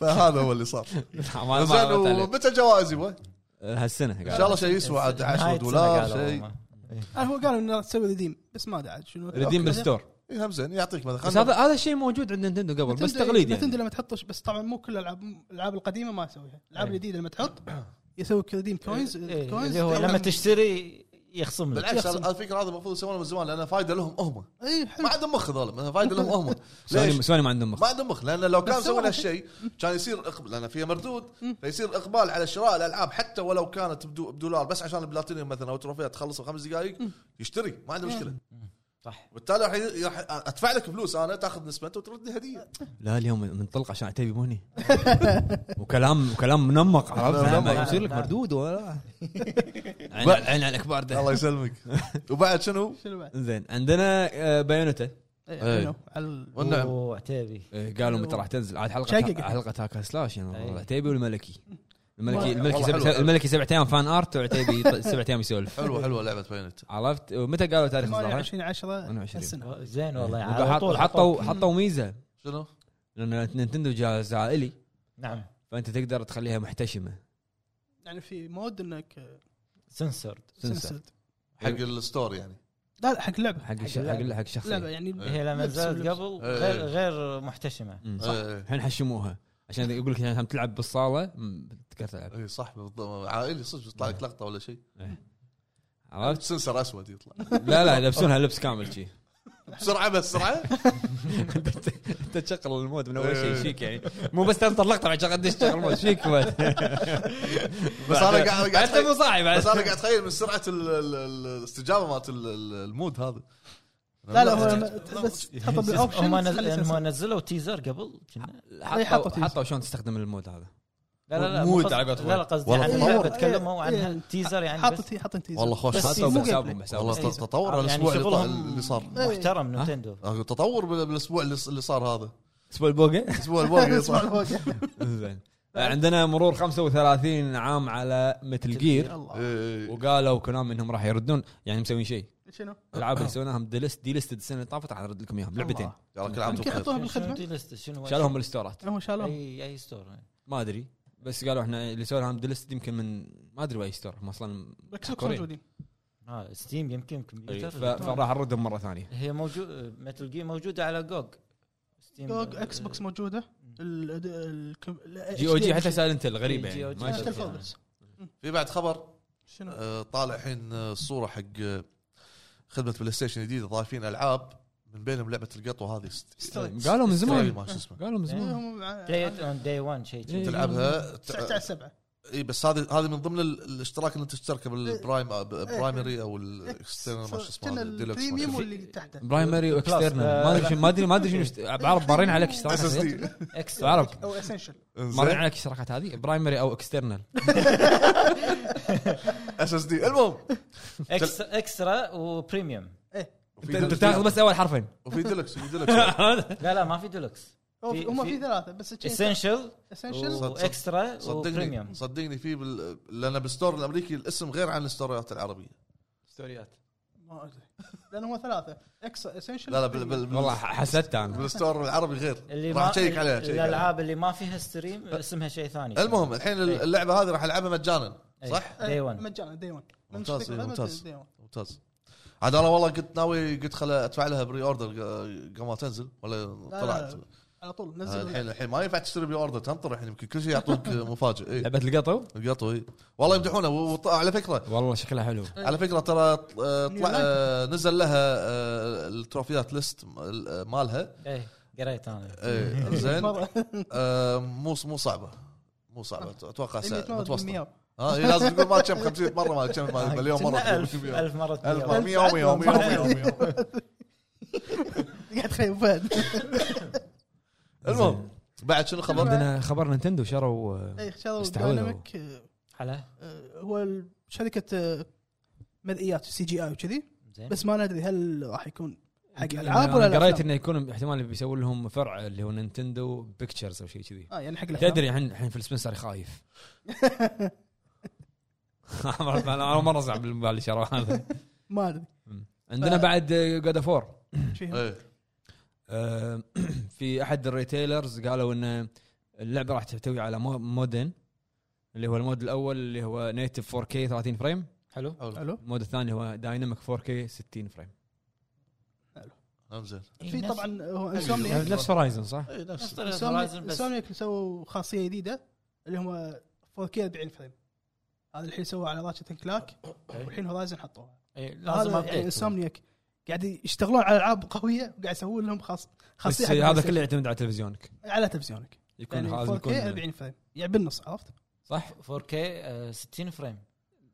S3: فهذا هو اللي صار
S1: ما- ما
S3: زين
S1: مرت عليك.
S3: ومتى جوائز يبا؟
S1: هالسنه قاعد.
S3: ان شاء الله شيء يسوى عاد
S4: نهاية
S3: 10
S4: السنة
S3: دولار
S4: قالوا
S3: شيء
S4: والله.
S2: أنا هو قالوا انه تسوي ريديم بس ما ادري عاد شنو
S1: ريديم بالستور
S3: إيه، هم زين يعطيك مثلا
S1: بس
S3: خلنا-
S1: هذا هذا الشيء موجود عند نينتندو قبل بس تقليد
S2: يعني
S1: يعني
S2: لما تحط بس طبعا مو كل الالعاب الالعاب القديمه ما اسويها الالعاب
S4: أي.
S2: الجديده لما تحط يسوي ريديم كوينز
S4: إيه،
S2: كوينز
S4: اللي هو لما تشتري يخصم لك
S3: بالعكس
S2: يخصم.
S3: هذا- الفكره هذا المفروض يسوونه من زمان لان فايده لهم هم
S2: اي حلو
S3: ما عندهم مخ هذول فايده لهم هم
S1: سوني سوني ما عندهم مخ
S3: ما عندهم مخ لان لو كان
S2: بس
S3: سووا
S2: سووا
S3: هالشيء كان يصير اقبال لان فيها مردود فيصير اقبال على شراء الالعاب حتى ولو كانت بدو- بدولار بس عشان البلاتينيوم مثلا او التروفيات تخلص بخمس دقائق يشتري ما عنده مشكله
S4: صح
S3: بالتالي راح ي- راح ادفع لك فلوس انا تاخذ نسبه انت وترد لي هديه
S1: لا اليوم منطلق عشان عتيبي مهني وكلام وكلام منمق
S3: لا،
S1: عرفت
S3: لا،
S1: ما يصير لك
S4: لا.
S1: مردود ولا عين على- عين على الكبار
S3: الله
S1: ده
S3: يسلمك وبعد شنو؟
S2: شنو بعد؟
S1: زين عندنا آه، بايونيتا
S2: إيه،
S3: إيه.
S2: حلو. على-
S3: والنعم
S4: أوه، عتيبي
S1: آه، قالوا متى راح تنزل عاد حلقه
S2: شقق.
S1: حلقه هاكا سلاش يعني
S4: أي.
S1: والله. عتيبي والملكي الملكي
S3: والله-
S1: الملكي
S3: والله
S1: سبع-
S3: حلوة.
S1: الملكي سبع ايام فان ارت وعتيبي ط- سبع ايام يسولف
S3: حلوه حلوه لعبه بايونيت
S1: عرفت ومتى قالوا تاريخ اصدارها؟
S2: 28 10
S1: 28.
S2: السنه
S4: زين
S3: إيه.
S4: والله على
S1: حطوا
S4: طول
S1: حطوا حطوا ميزه
S3: شنو؟
S1: لان نينتندو جهاز عائلي
S4: نعم
S1: فانت تقدر تخليها محتشمه
S2: يعني في مود انك
S4: سنسورد
S1: سنسر
S2: سنسد
S3: حق الستور يعني
S2: لا لا حق اللعبه
S1: حق الش-
S4: اللعبة.
S1: حق حق
S2: لعبه
S1: شخصيه
S2: يعني
S4: هي لما
S2: لبس
S4: نزلت
S2: ولبس.
S4: قبل
S3: إيه.
S4: غير غير محتشمه
S1: أمم.
S3: اي
S1: الحين حشموها عشان يقول لك عشان تلعب بالصاله أمم، تقدر تلعب
S3: اي إيه، صح بالضبط. عائلي صدق يطلع لك لقطه ولا شيء
S1: عرفت؟
S3: سنسر اسود يطلع
S1: لا لا يلبسونها لبس كامل شي
S3: بسرعه بسرعه
S1: انت تشغل المود من
S3: إيه.
S1: اول شيء شيك يعني مو بس تنطلق طبعا شغل دش تشغل المود شيك مود.
S3: بس انا قاعد قاعد
S1: انت مو صاحي بعد
S3: بس انا قاعد اتخيل من سرعه ال- ال- ال- الاستجابه مالت ال- ال- المود هذا
S2: لا لا هو بس تحط
S4: هم
S2: بالاوبشن تخلي
S4: نز- هم
S2: سنسد.
S4: نزلوا تيزر قبل كنا
S1: حطوا-
S2: حطوا فيه.
S1: حطوا شلون تستخدم المود هذا
S4: لا لا لا
S1: مود
S4: مو قصد-
S1: على قولتهم.
S4: لا لا قصدي
S3: والله
S4: عن
S3: تطور.
S4: اللعبه تكلموا عن
S2: إيه.
S4: التيزر يعني بس
S2: حاطط حاطين تيزر
S3: والله خوش
S2: بس
S3: حتى
S1: حطوا
S2: مو
S1: بحسابهم
S2: قبل.
S1: بحسابهم
S3: والله
S4: إيه.
S3: تط- تطور
S4: يعني
S3: الاسبوع اللي طا-
S4: شغلهم
S3: اللي صار
S2: إيه.
S4: محترم
S1: ها؟
S4: نينتندو
S3: أقول تطور بال- بالاسبوع اللي اللي صار هذا
S1: اسبوع البوقه
S3: الاسبوع اللي
S2: اسمع
S3: صار
S2: الفوق.
S1: زين عندنا مرور 35 عام على متل جير
S2: الله
S3: إيه.
S1: وقالوا كلام انهم راح يردون يعني مسوين شيء
S2: شنو؟
S1: الالعاب اللي سويناها دي ليست دي ليست السنه اللي طافت راح نرد لكم اياهم لعبتين
S3: يا رجل عم
S2: يمكن
S3: تخيل.
S2: يحطوها
S4: شنو
S2: بالخدمه
S4: دي ليست شنو
S1: شالوهم من الستورات
S2: هم شالوها
S4: اي اي ستور
S1: ما ادري بس قالوا احنا اللي سويناها دي ليست يمكن من ما ادري واي ستور هم اصلا
S2: اكس بوكس
S1: كوريا.
S2: موجودين
S4: ها ستيم آه،
S3: إيه،
S4: يمكن كمبيوتر
S1: ف- فراح نردهم مره ثانيه
S4: هي موجود متل جي موجوده على جوج ستيم
S2: جوج اكس بوكس موجوده
S1: جي
S2: جي
S1: او جي حتى سالنت غريبه
S4: إيه، جي أو
S1: يعني
S4: جي.
S1: ما
S4: حتى-
S1: يشوف.
S3: في بعد خبر
S2: شنو؟
S3: آه، طالع الحين آه، الصوره حق آه، خدمه بلاي ستيشن جديده ضايفين العاب من بينهم لعبه القطوه هذه است-
S1: قالوا من
S3: استرالي
S1: زمان
S3: ما شو اسمه
S1: قالوا من
S4: إيه.
S1: زمان
S4: بلاي اون داي 1 شيء
S1: إيه.
S4: كذي.
S3: تلعبها
S2: 19 7
S3: اي بس هذه هذه من ضمن ال- الاشتراك اللي انت تشتركه بالبرايم آه،
S2: إيه.
S3: برايمري او الاكسترنال ما شو اسمه هذا،
S2: كنا
S3: الديلوكس ما شو
S2: البريميوم
S3: اسمه.
S2: واللي تحته
S1: برايمري واكسترنال
S4: آه، إيه.
S1: ما ادري شنو- ما ادري ما ادري شنو اشت- بعرف بارين عليك
S3: اس اس
S1: اشتراكات
S3: دي
S4: اكس
S1: بعرف
S2: او اسنشل
S1: بارين عليك اشتراكات هذه برايمري او اكسترنال
S3: اس اس دي المهم
S4: إكس- اكسترا وبريميوم
S3: وفي
S1: انت
S3: ديلوكس-
S1: تاخذ بس اول حرفين
S3: وفي ديلكس وفي ديلكس
S4: لا لا ما في ديلوكس في-
S2: هم في
S4: في-
S2: ثلاثه بس
S4: اسنشل
S2: اسنشل
S3: صدق.
S4: واكسترا
S3: صدقني
S4: وبريميوم
S3: صدقني في بال... لان بالستور الامريكي الاسم غير عن الستوريات العربيه
S1: ستوريات
S2: ما ادري لان هم ثلاثه اكس اسنشل
S3: لا لا بال... بال...
S1: والله حسدت انا
S3: بالستور العربي
S4: اللي
S3: غير راح
S4: ما
S3: اشيك عليها أشيك عليها.
S4: الالعاب اللي ما فيها ستريم اسمها شيء ثاني
S2: إيه.
S4: إيه.
S3: المهم الحين اللعبه هذه راح العبها مجانا صح؟
S4: دي 1
S2: آه، مجانا دي 1
S3: ممتاز، إيه، ممتاز. ممتاز عاد انا والله كنت ناوي قلت خل ادفع لها بري اوردر قبل ما تنزل ولا
S2: لا،
S3: طلعت
S2: لا. على طول
S3: آه،
S2: نزل
S3: الحين الحين ما ينفع تشتري بري اوردر تنطر الحين يمكن كل شيء يعطوك مفاجئ اي
S1: لعبه القطو
S3: القطو اي إيه. والله يمدحونه وعلى فكره
S1: والله شكلها حلو
S3: على فكره ترى آه، طلع آه، نزل لها آه، التروفيات ليست آه، مالها
S4: ايه قريت انا
S3: اي زين
S2: مرة.
S3: آه، مو مو صعبه مو صعبه اتوقع
S2: إيه،
S3: سا-
S2: متمرد
S3: متوسطه
S2: بالمية.
S3: اه إيه، لازم تقول ما كم 500 مره ما كم ما- مليون مره
S4: كنا
S3: تقول
S4: ألف
S3: 100.
S4: ألف مرة
S3: ألف
S4: مية.
S3: مرة. مية ومية ومية ومية ومية.
S2: قاعد تخيل فهد
S3: المهم بعد شنو الخبر؟
S1: عندنا خبر نينتندو شروا آه،
S2: اي شاروا
S1: استحوذوا.
S2: دايناميك إيه، آه،
S4: حلا
S2: آه، هو ال- شركه آه، مدئيات سي جي اي وكذي
S4: زين
S2: بس ما ندري هل راح يكون حق
S1: يعني
S2: العاب
S1: أنا
S2: ولا لا
S1: قريت انه يكون احتمال بيسوي لهم فرع اللي هو نينتندو بيكتشرز او شيء كذي
S2: اه يعني حق الألعاب.
S1: تدري الحين الحين فيل سبنسر خايف انا أول مره صعب بالموبايل اللي شروه هذا
S2: ما ادري
S1: عندنا
S2: ف-
S1: بعد جود اوف وور
S2: شو يهم؟
S3: إيه.
S1: آه، في احد الريتيلرز قالوا ان اللعبه راح تحتوي على مو- مودين اللي هو المود الاول اللي هو نيتف 4K 30 فريم
S4: حلو
S2: حلو
S1: المود الثاني هو دايناميك 4K 60 فريم
S3: نعم، زين
S4: إيه،
S2: في طبعا هو إيه، انسومنياك
S3: يعني
S1: نفس هورايزن صح؟
S3: اي نفس
S4: Horizon بس.
S2: انسومنياك سووا خاصيه جديده اللي هم 4K 40 فريم هذا الحين سووه على راتشت كلاك والحين هورايزن حطوها
S4: إيه، لازم
S2: هذا يعني
S4: update.
S2: انسومنياك قاعد يشتغلون على العاب قويه وقاعد يسوون لهم خاص
S1: بس
S2: خاصيه حق
S1: هذا
S2: PlayStation.
S1: كله يعتمد على تلفزيونك
S2: على تلفزيونك
S1: يكون
S2: يعني
S1: لازم
S2: 4K
S1: يكون
S2: 40 فريم يعني بالنص عرفت؟
S1: صح؟
S4: 4K آه، 60 فريم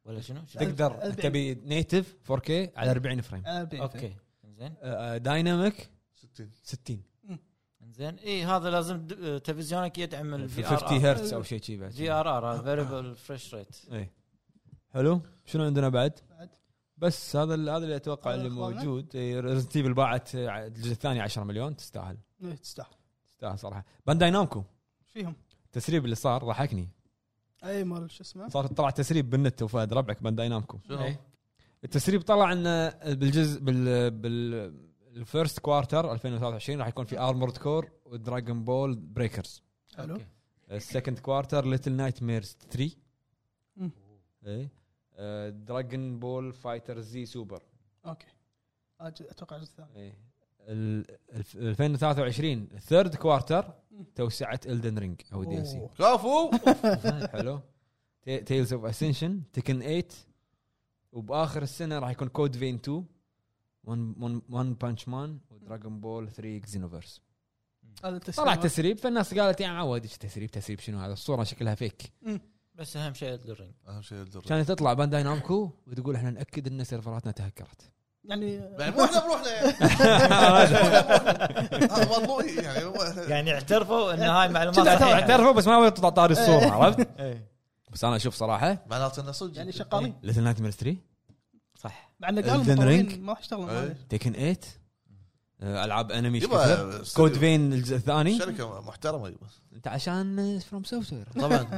S4: ولا شنو؟
S1: تقدر
S2: 40.
S1: تبي نيتف 4K على 40 فريم آه،
S2: على 40 فريم.
S4: اوكي زين
S1: دايناميك
S3: 60
S1: 60
S4: زين اي هذا لازم د- آه، تلفزيونك يدعم
S1: في
S4: الفي
S1: 50
S2: آه،
S4: ار
S1: هرتز او شيء شي بعد
S4: في ار ار فيربل فريش ريت
S1: اي حلو شنو عندنا بعد؟
S2: بعد.
S1: بس هذا ال- هذا اللي اتوقع
S2: هذا
S1: اللي
S2: أخبارنا؟
S1: موجود ريزنت ايفل باعت آه، الجزء الثاني 10 مليون تستاهل
S2: إيه، تستاهل
S1: تستاهل صراحه بانداي نامكو
S2: ايش فيهم؟
S1: التسريب اللي صار ضحكني
S2: اي مال شو اسمه؟
S1: صار طلع تسريب بالنت وفهد ربعك بانداي نامكو
S3: شنو؟
S1: التسريب طلع ان بالجزء بال بال الفيرست كوارتر 2023 راح يكون في ارمورد كور ودراجون بول بريكرز
S2: حلو
S4: أوكي.
S1: السكند كوارتر ليتل نايت ميرز 3
S2: مم.
S1: اي Uh, دراجون بول فايتر زي سوبر
S2: اوكي أج- اتوقع الجزء الثاني
S1: ايه ال- الف- 2023 ثيرد كوارتر
S2: مم.
S1: توسعه الدن رينج او دي ال سي
S2: أوه.
S3: كفو
S1: حلو تيلز اوف اسنشن تكن 8 وباخر السنه راح يكون كود فين 2 ون بانش مان ودراجون بول 3 اكزينوفيرس
S2: هذا التسريب
S1: طلع تسريب فالناس قالت يا عواد ايش تسريب تسريب شنو هذا الصوره شكلها فيك
S4: بس اهم شيء الرينج
S3: اهم شيء الدرج
S1: كانت تطلع بانداي نامكو وتقول احنا ناكد ان سيرفراتنا تهكرت
S2: يعني
S3: يعني مو احنا بروحنا يعني هذا مطلوب يعني مو إحنا-
S4: يعني اعترفوا ان هاي معلومات
S1: كنا
S4: صحيحة.
S1: اعترفوا بس ما تطلع طاري الصوره
S2: إيه.
S1: عرفت
S4: إيه.
S1: بس انا اشوف صراحه
S3: معناته انه صدق
S2: يعني شغالين
S1: ليتل نايت ميرز 3
S4: صح
S2: مع انه
S1: Elden
S2: قالوا
S1: Ring.
S2: مطورين ما راح يشتغلون
S3: إيه.
S2: هذا.
S1: تيكن 8 آه، العاب انمي إيش
S3: يبا
S1: كثر.
S3: استوديو.
S1: كود فين الجزء الثاني
S3: شركه محترمه يبا
S1: انت عشان فروم سوفت وير
S3: طبعا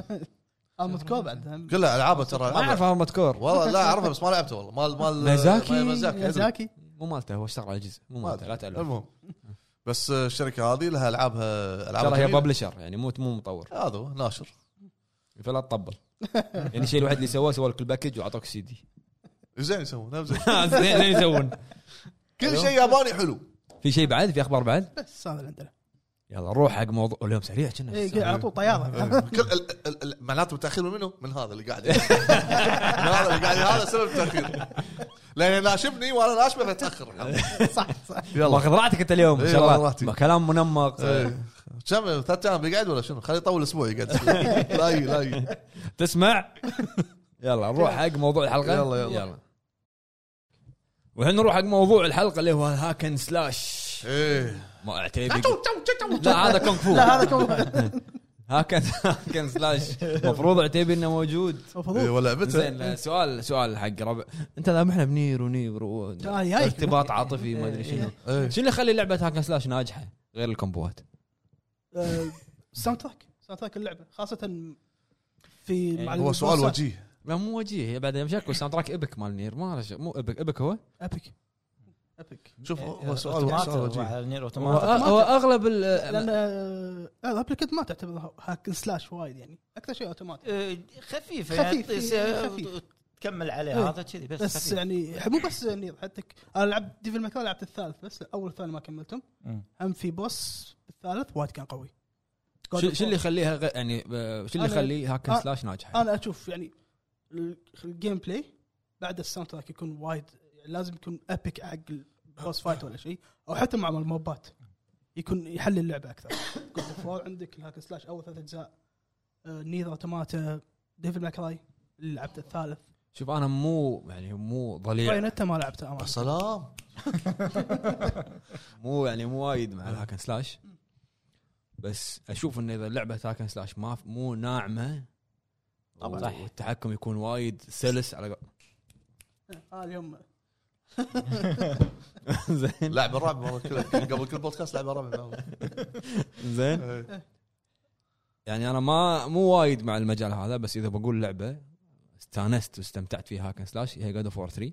S2: ارمد كور بعد هم.
S3: كلها العابه ترى
S1: ما
S3: ألعابها.
S1: اعرف هارمد كور
S3: والله لا اعرفها بس ما لعبته والله مال مال
S1: ميزاكي.
S3: مال ميزاكي أدري.
S2: ميازاكي
S1: مو مالته هو اشتغل على جزء مو مالته لا تألف
S3: المهم بس الشركه هذه لها العابها العاب
S1: ترى هي
S3: جميلة.
S1: ببلشر يعني مو مو مطور
S3: هذا هو ناشر
S1: فلا تطبل يعني الشيء الوحيد اللي سواه سوى لك الباكج واعطوك سي دي
S3: زين يسوون نعم زين.
S1: زين زين يسوون أيوه.
S3: كل شيء ياباني حلو
S1: في شيء بعد في اخبار بعد
S2: بس هذا اللي عندنا
S1: يلا نروح حق موضوع اليوم سريع كنا
S2: إيه، قل- على طول طياره
S3: كل- ال- ال- ال- معناته متاخر من منه؟ من هذا اللي قاعد يحكي. من هذا اللي قاعد هذا سبب التاخير لان ناشبني وانا ناشبه فتاخر
S2: صح صح
S3: يلا
S1: ماخذ راحتك انت اليوم ان
S3: إيه،
S1: شاء
S3: والله
S1: الله
S3: راحتي.
S1: ما كلام منمق
S3: إيه. كم ثلاث ايام بيقعد ولا شنو؟ خليه يطول اسبوع يقعد لاي لاي
S1: تسمع يلا نروح حق موضوع الحلقه
S3: يلا، يلا.
S1: يلا والحين نروح حق موضوع الحلقه اللي هو هاكن سلاش
S3: ايه
S1: ما اعتبر لا هذا كونغ فو
S2: لا هذا كم
S1: هاكن هاكن سلاش المفروض عتيبي انه موجود
S3: إيه،
S2: المفروض
S3: ولا بتر
S1: زين سؤال سؤال حق ربع انت ذابحنا بنير ونير و...
S2: آه، يايك.
S1: ارتباط عاطفي ما ادري شنو
S3: إيه.
S1: شنو اللي يخلي لعبه هاكن سلاش ناجحه غير الكومبوات
S2: آه، ساوند تراك ساوند تراك اللعبه خاصه في مع
S3: إيه، هو سؤال
S2: البوسات.
S3: وجيه
S1: لا مو وجيه هي بعد مشاكل والساوند تراك ابك مال نير ما له شغل. مو ابك ابك هو
S2: ابيك ابيك
S4: إيه،
S3: شوف هو سؤال
S4: أوتوماتا،
S3: سؤال
S4: هو
S3: وجيه
S4: على نير
S1: هو
S4: اوتوماتا
S1: هو اغلب ال-
S2: لان آه، لا الابلكيت ما تعتبر هاك سلاش وايد يعني اكثر شيء اوتوماتيك
S4: آه، خفيفه
S2: خفيف،
S4: يعني
S2: يعني
S4: ت-
S2: خفيف.
S4: تكمل
S2: إيه.
S4: عليه هذا كذي بس,
S2: بس
S4: خفيف
S2: يعني مو بس نير حتى ك- انا لعبت ديفل ماكراي لعبت الثالث بس اول ثاني ما كملتهم
S4: مم.
S2: هم في بوس الثالث وايد كان قوي
S1: شو شو اللي يخليها غ- يعني آه، شو اللي
S2: أنا-
S1: يخليه هاك
S2: آه،
S1: أند سلاش ناجحه؟
S2: انا اشوف يعني ال- الجيم بلاي بعد الساوند تراك يكون وايد يعني لازم يكون ابيك حق البوس فايت ولا شيء او حتى مع الموبات يكون يحل اللعبه اكثر فور عندك الهاك سلاش اول ثلاث آه، اجزاء نير اوتوماتا ديفل ماكراي اللي لعبت الثالث
S1: شوف انا مو يعني مو ضليع
S2: بايونيتا ما لعبتها
S3: يا
S2: امانه
S3: سلام
S1: مو يعني مو وايد مع الهاكن سلاش بس اشوف انه اذا لعبه هاكن سلاش ما مو ناعمه
S4: طبعاً.
S1: طبعا والتحكم يكون وايد سلس على قول-
S2: آه اليوم
S1: زين
S3: لعبه رعب والله كل- قبل كل بودكاست لعبه رعب
S1: زين
S3: إيه.
S1: يعني انا ما مو وايد مع المجال هذا بس اذا بقول لعبه استانست واستمتعت فيها هاكن سلاش هي جود اوف 3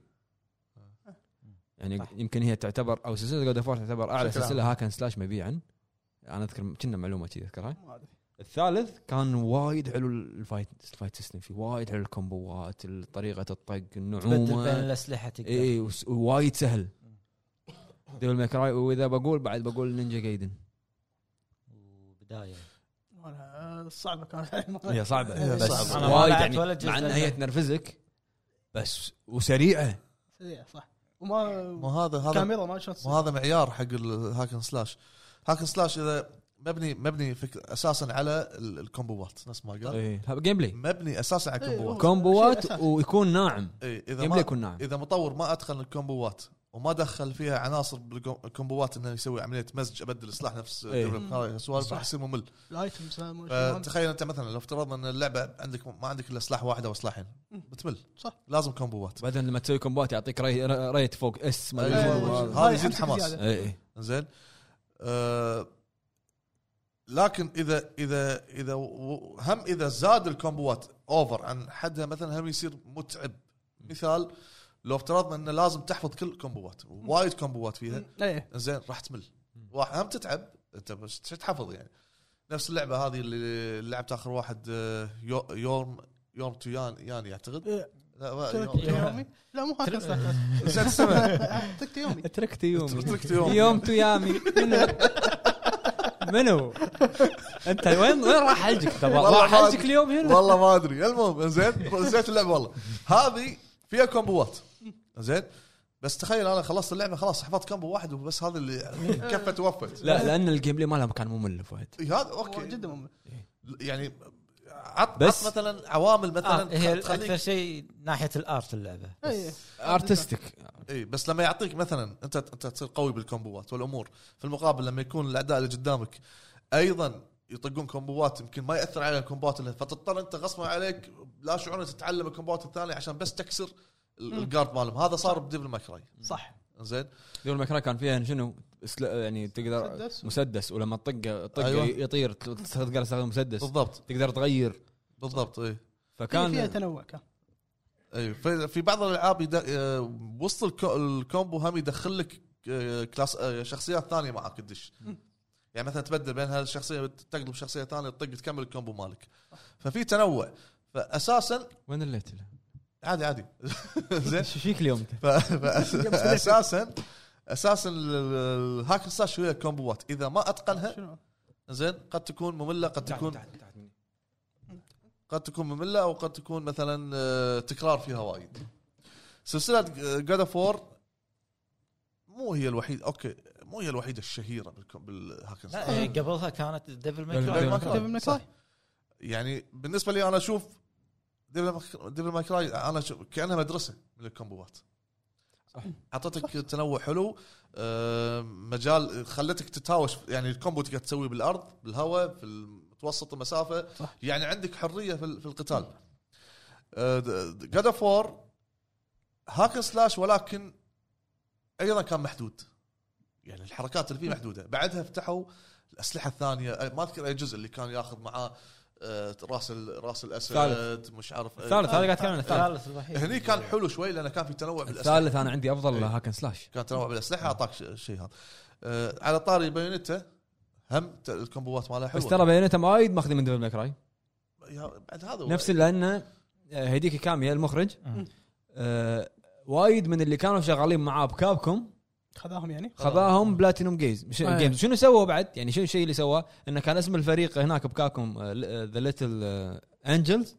S1: يعني
S4: صح.
S1: يمكن هي تعتبر او سلسله جود اوف تعتبر اعلى
S3: بشكل عام.
S1: سلسله هاكن سلاش مبيعا انا اذكر كنا معلومه كذي اذكرها
S2: ما ادري
S1: الثالث كان وايد حلو الفايت الفايت سيستم فيه وايد حلو الكومبوات طريقه الطق
S4: تبدل بين
S1: النعومه
S4: الاسلحه تقدر
S1: اي وس- ووايد سهل ديفل ماكراي واذا بقول بعد بقول نينجا جايدن
S4: بدايه
S2: والله، آه، صعبه كانت
S1: طيب. هي صعبه
S3: إيه،
S1: بس
S3: صعبة.
S4: أنا ما
S1: وايد
S4: لعبت
S1: يعني
S4: ولا جزء
S1: مع انها
S4: منها.
S1: هي تنرفزك بس وسريعه
S2: سريع صح وما
S3: مو هذا هذا
S2: كاميرا ما شلون
S3: مو هذا معيار حق الهاكن سلاش هاكن سلاش اذا مبني مبني فك... اساسا على ال- الكومبوات نفس ما قال
S1: إيه، جيم بلاي
S3: مبني اساسا على الكومبوات
S1: كومبوات
S2: شيء أساسي.
S1: ويكون ناعم
S3: إيه
S1: جيم
S3: اذا
S1: بلاي
S3: ما
S1: يكون ناعم
S3: اذا مطور ما ادخل الكومبوات وما دخل فيها عناصر بالكومبوات انه يسوي عمليه مزج ابدل سلاح نفس
S1: إيه.
S3: إيه. سوالف
S2: صح.
S3: راح يصير ممل
S2: الايتمز
S3: آه،
S2: ها، ما شلون.
S3: فتخيل انت مثلا لو افترضنا ان اللعبه عندك ما عندك الا سلاح واحد او سلاحين
S2: مم.
S3: بتمل
S2: صح.
S3: لازم كومبوات
S1: بعدين لما تسوي كومبات يعطيك ري- ري- ريت فوق اس ما أدري
S3: إيه.
S1: شنو.
S3: هذا
S2: هاي
S3: يزيد
S2: حمسك
S3: حماس.
S2: زيادة.
S1: إيه، إيه.
S3: زين آه لكن اذا اذا اذا و- هم اذا زاد الكومبوات اوفر عن حدها مثلا هم يصير متعب مثال لو افترضنا انه لازم تحفظ كل كومبوات وايد كومبوات فيها
S2: ايه
S3: زين راح تمل
S1: مم.
S3: واحد هم تتعب انت بس شو تحفظ يعني نفس اللعبه هذه اللي لعبت اخر واحد آه، يو- يوم يوم تو يان ياني اعتقد
S2: إيه.
S3: لا ما-
S2: تركت
S3: يوم-
S2: يومي لا مو هاك
S3: زين استمع.
S2: تركت يومي
S1: تركت يومي
S3: تركت يومي.
S1: يوم تيامي منو منو انت وين وين راح حلجك تبا
S3: والله
S1: راح
S3: ما
S1: حلجك اليوم هنا
S3: والله ما ادري المهم زين نسيت اللعبه والله هذه فيها كومبوات زين بس تخيل انا خلصت اللعبه خلاص حفظت كومبو واحد وبس هذا اللي كفت وفت
S1: لا لان الجيم بلاي مالها كان ممل فهد
S3: إيه، هذا
S2: هو
S3: اوكي
S2: جدا ممل
S3: يعني عط
S1: بس-
S3: بس عط مثلا عوامل
S4: آه
S3: مثلا
S4: هي
S3: خل- تخليك
S4: اكثر شيء ناحيه الارت اللعبه
S2: ايه
S1: ارتستيك
S3: اي إيه، بس لما يعطيك مثلا انت انت تصير قوي بالكومبوات والامور في المقابل لما يكون الاعداء اللي قدامك ايضا يطقون كومبوات يمكن ما ياثر على الكومبوات اللي فتضطر انت غصبا عليك لا شعورا تتعلم الكومبوات الثانيه عشان بس تكسر ال-
S2: مم.
S3: الجارد مالهم هذا صار بديفل ماكراي
S2: صح
S3: زين
S1: دول مكرا كان فيها شنو اسل- يعني تقدر
S2: مسدس.
S1: مسدس ولما تطقه طقه
S3: أيوة.
S1: يطير تقدر تستخدم مسدس
S3: بالضبط
S1: تقدر تغير
S3: بالضبط إيه. اي
S2: كان إيه، فيها
S1: فكان
S2: تنوع كان
S3: اي إيه، في- في بعض الالعاب يد- آه، وسط الكو- الكومبو هم يدخل لك آه، كلاس آه، شخصيات ثانيه معك تدش
S2: مم.
S3: يعني مثلا تبدل بين هالشخصيه تقلب شخصيه ثانيه تطق تكمل الكومبو مالك ففي تنوع فاساسا
S1: وين الليت
S3: عادي عادي زين
S1: شو فيك اليوم انت؟
S3: ف- فأس- اساسا اساسا ال- ال- الهاك سلاش هي كومبوات اذا ما اتقنها
S2: شنو
S3: زين قد تكون ممله قد تكون قد تكون ممله او قد تكون مثلا آه، تكرار فيها وايد آه، سلسله جاد اوف وور مو هي الوحيده اوكي مو هي الوحيده الشهيره بالك- بالهاك
S4: لا
S3: سلاش.
S4: آه، قبلها كانت ديفل ماي
S1: ديفل
S4: كراي.
S1: ماي
S2: ديفل ماي كراي.
S3: صح. يعني بالنسبه لي انا اشوف ديفل ماك- ديفل ماي كراي انا اشوف كانها مدرسه من الكومبوات
S1: صح.
S3: اعطتك تنوع حلو آه، مجال خلتك تتهاوش يعني الكومبو تقدر تسويه بالارض بالهواء في متوسط المسافه
S2: صح.
S3: يعني عندك حريه في ال- في القتال آه، جاد اوف وور هاك سلاش ولكن ايضا كان محدود يعني آه، الحركات اللي فيه محدوده بعدها فتحوا الاسلحه الثانيه أي- ما اذكر اي جزء اللي كان ياخذ معاه آه، راس ال- راس الاسد
S1: الثالث.
S3: مش عارف آه،
S1: الثالث هذا قاعد اتكلم عن الثالث
S4: الثالث الوحيد
S3: هني كان حلو شوي لانه كان في تنوع بالاسلحه
S1: إيه. الثالث انا عندي افضل
S3: إيه.
S1: هاكن سلاش
S3: كان تنوع بالاسلحه اعطاك ش- شيء هذا آه، على طاري بايونيتا هم ت- الكومبوات مالها حلوه
S1: بس ترى بياناته وايد ماخذ من ديفل راي
S3: يا- بعد هذا هو.
S1: نفس لانه هديك كاميا المخرج
S4: مم.
S1: آه، وايد من اللي كانوا شغالين معاه بكابكم
S2: خذاهم يعني
S1: خذاهم بلاتينوم جيز مش
S2: أي.
S1: جيمز شنو سووا بعد يعني شنو الشيء اللي سواه انه كان اسم الفريق هناك آه، بكابكم ذا ليتل انجلز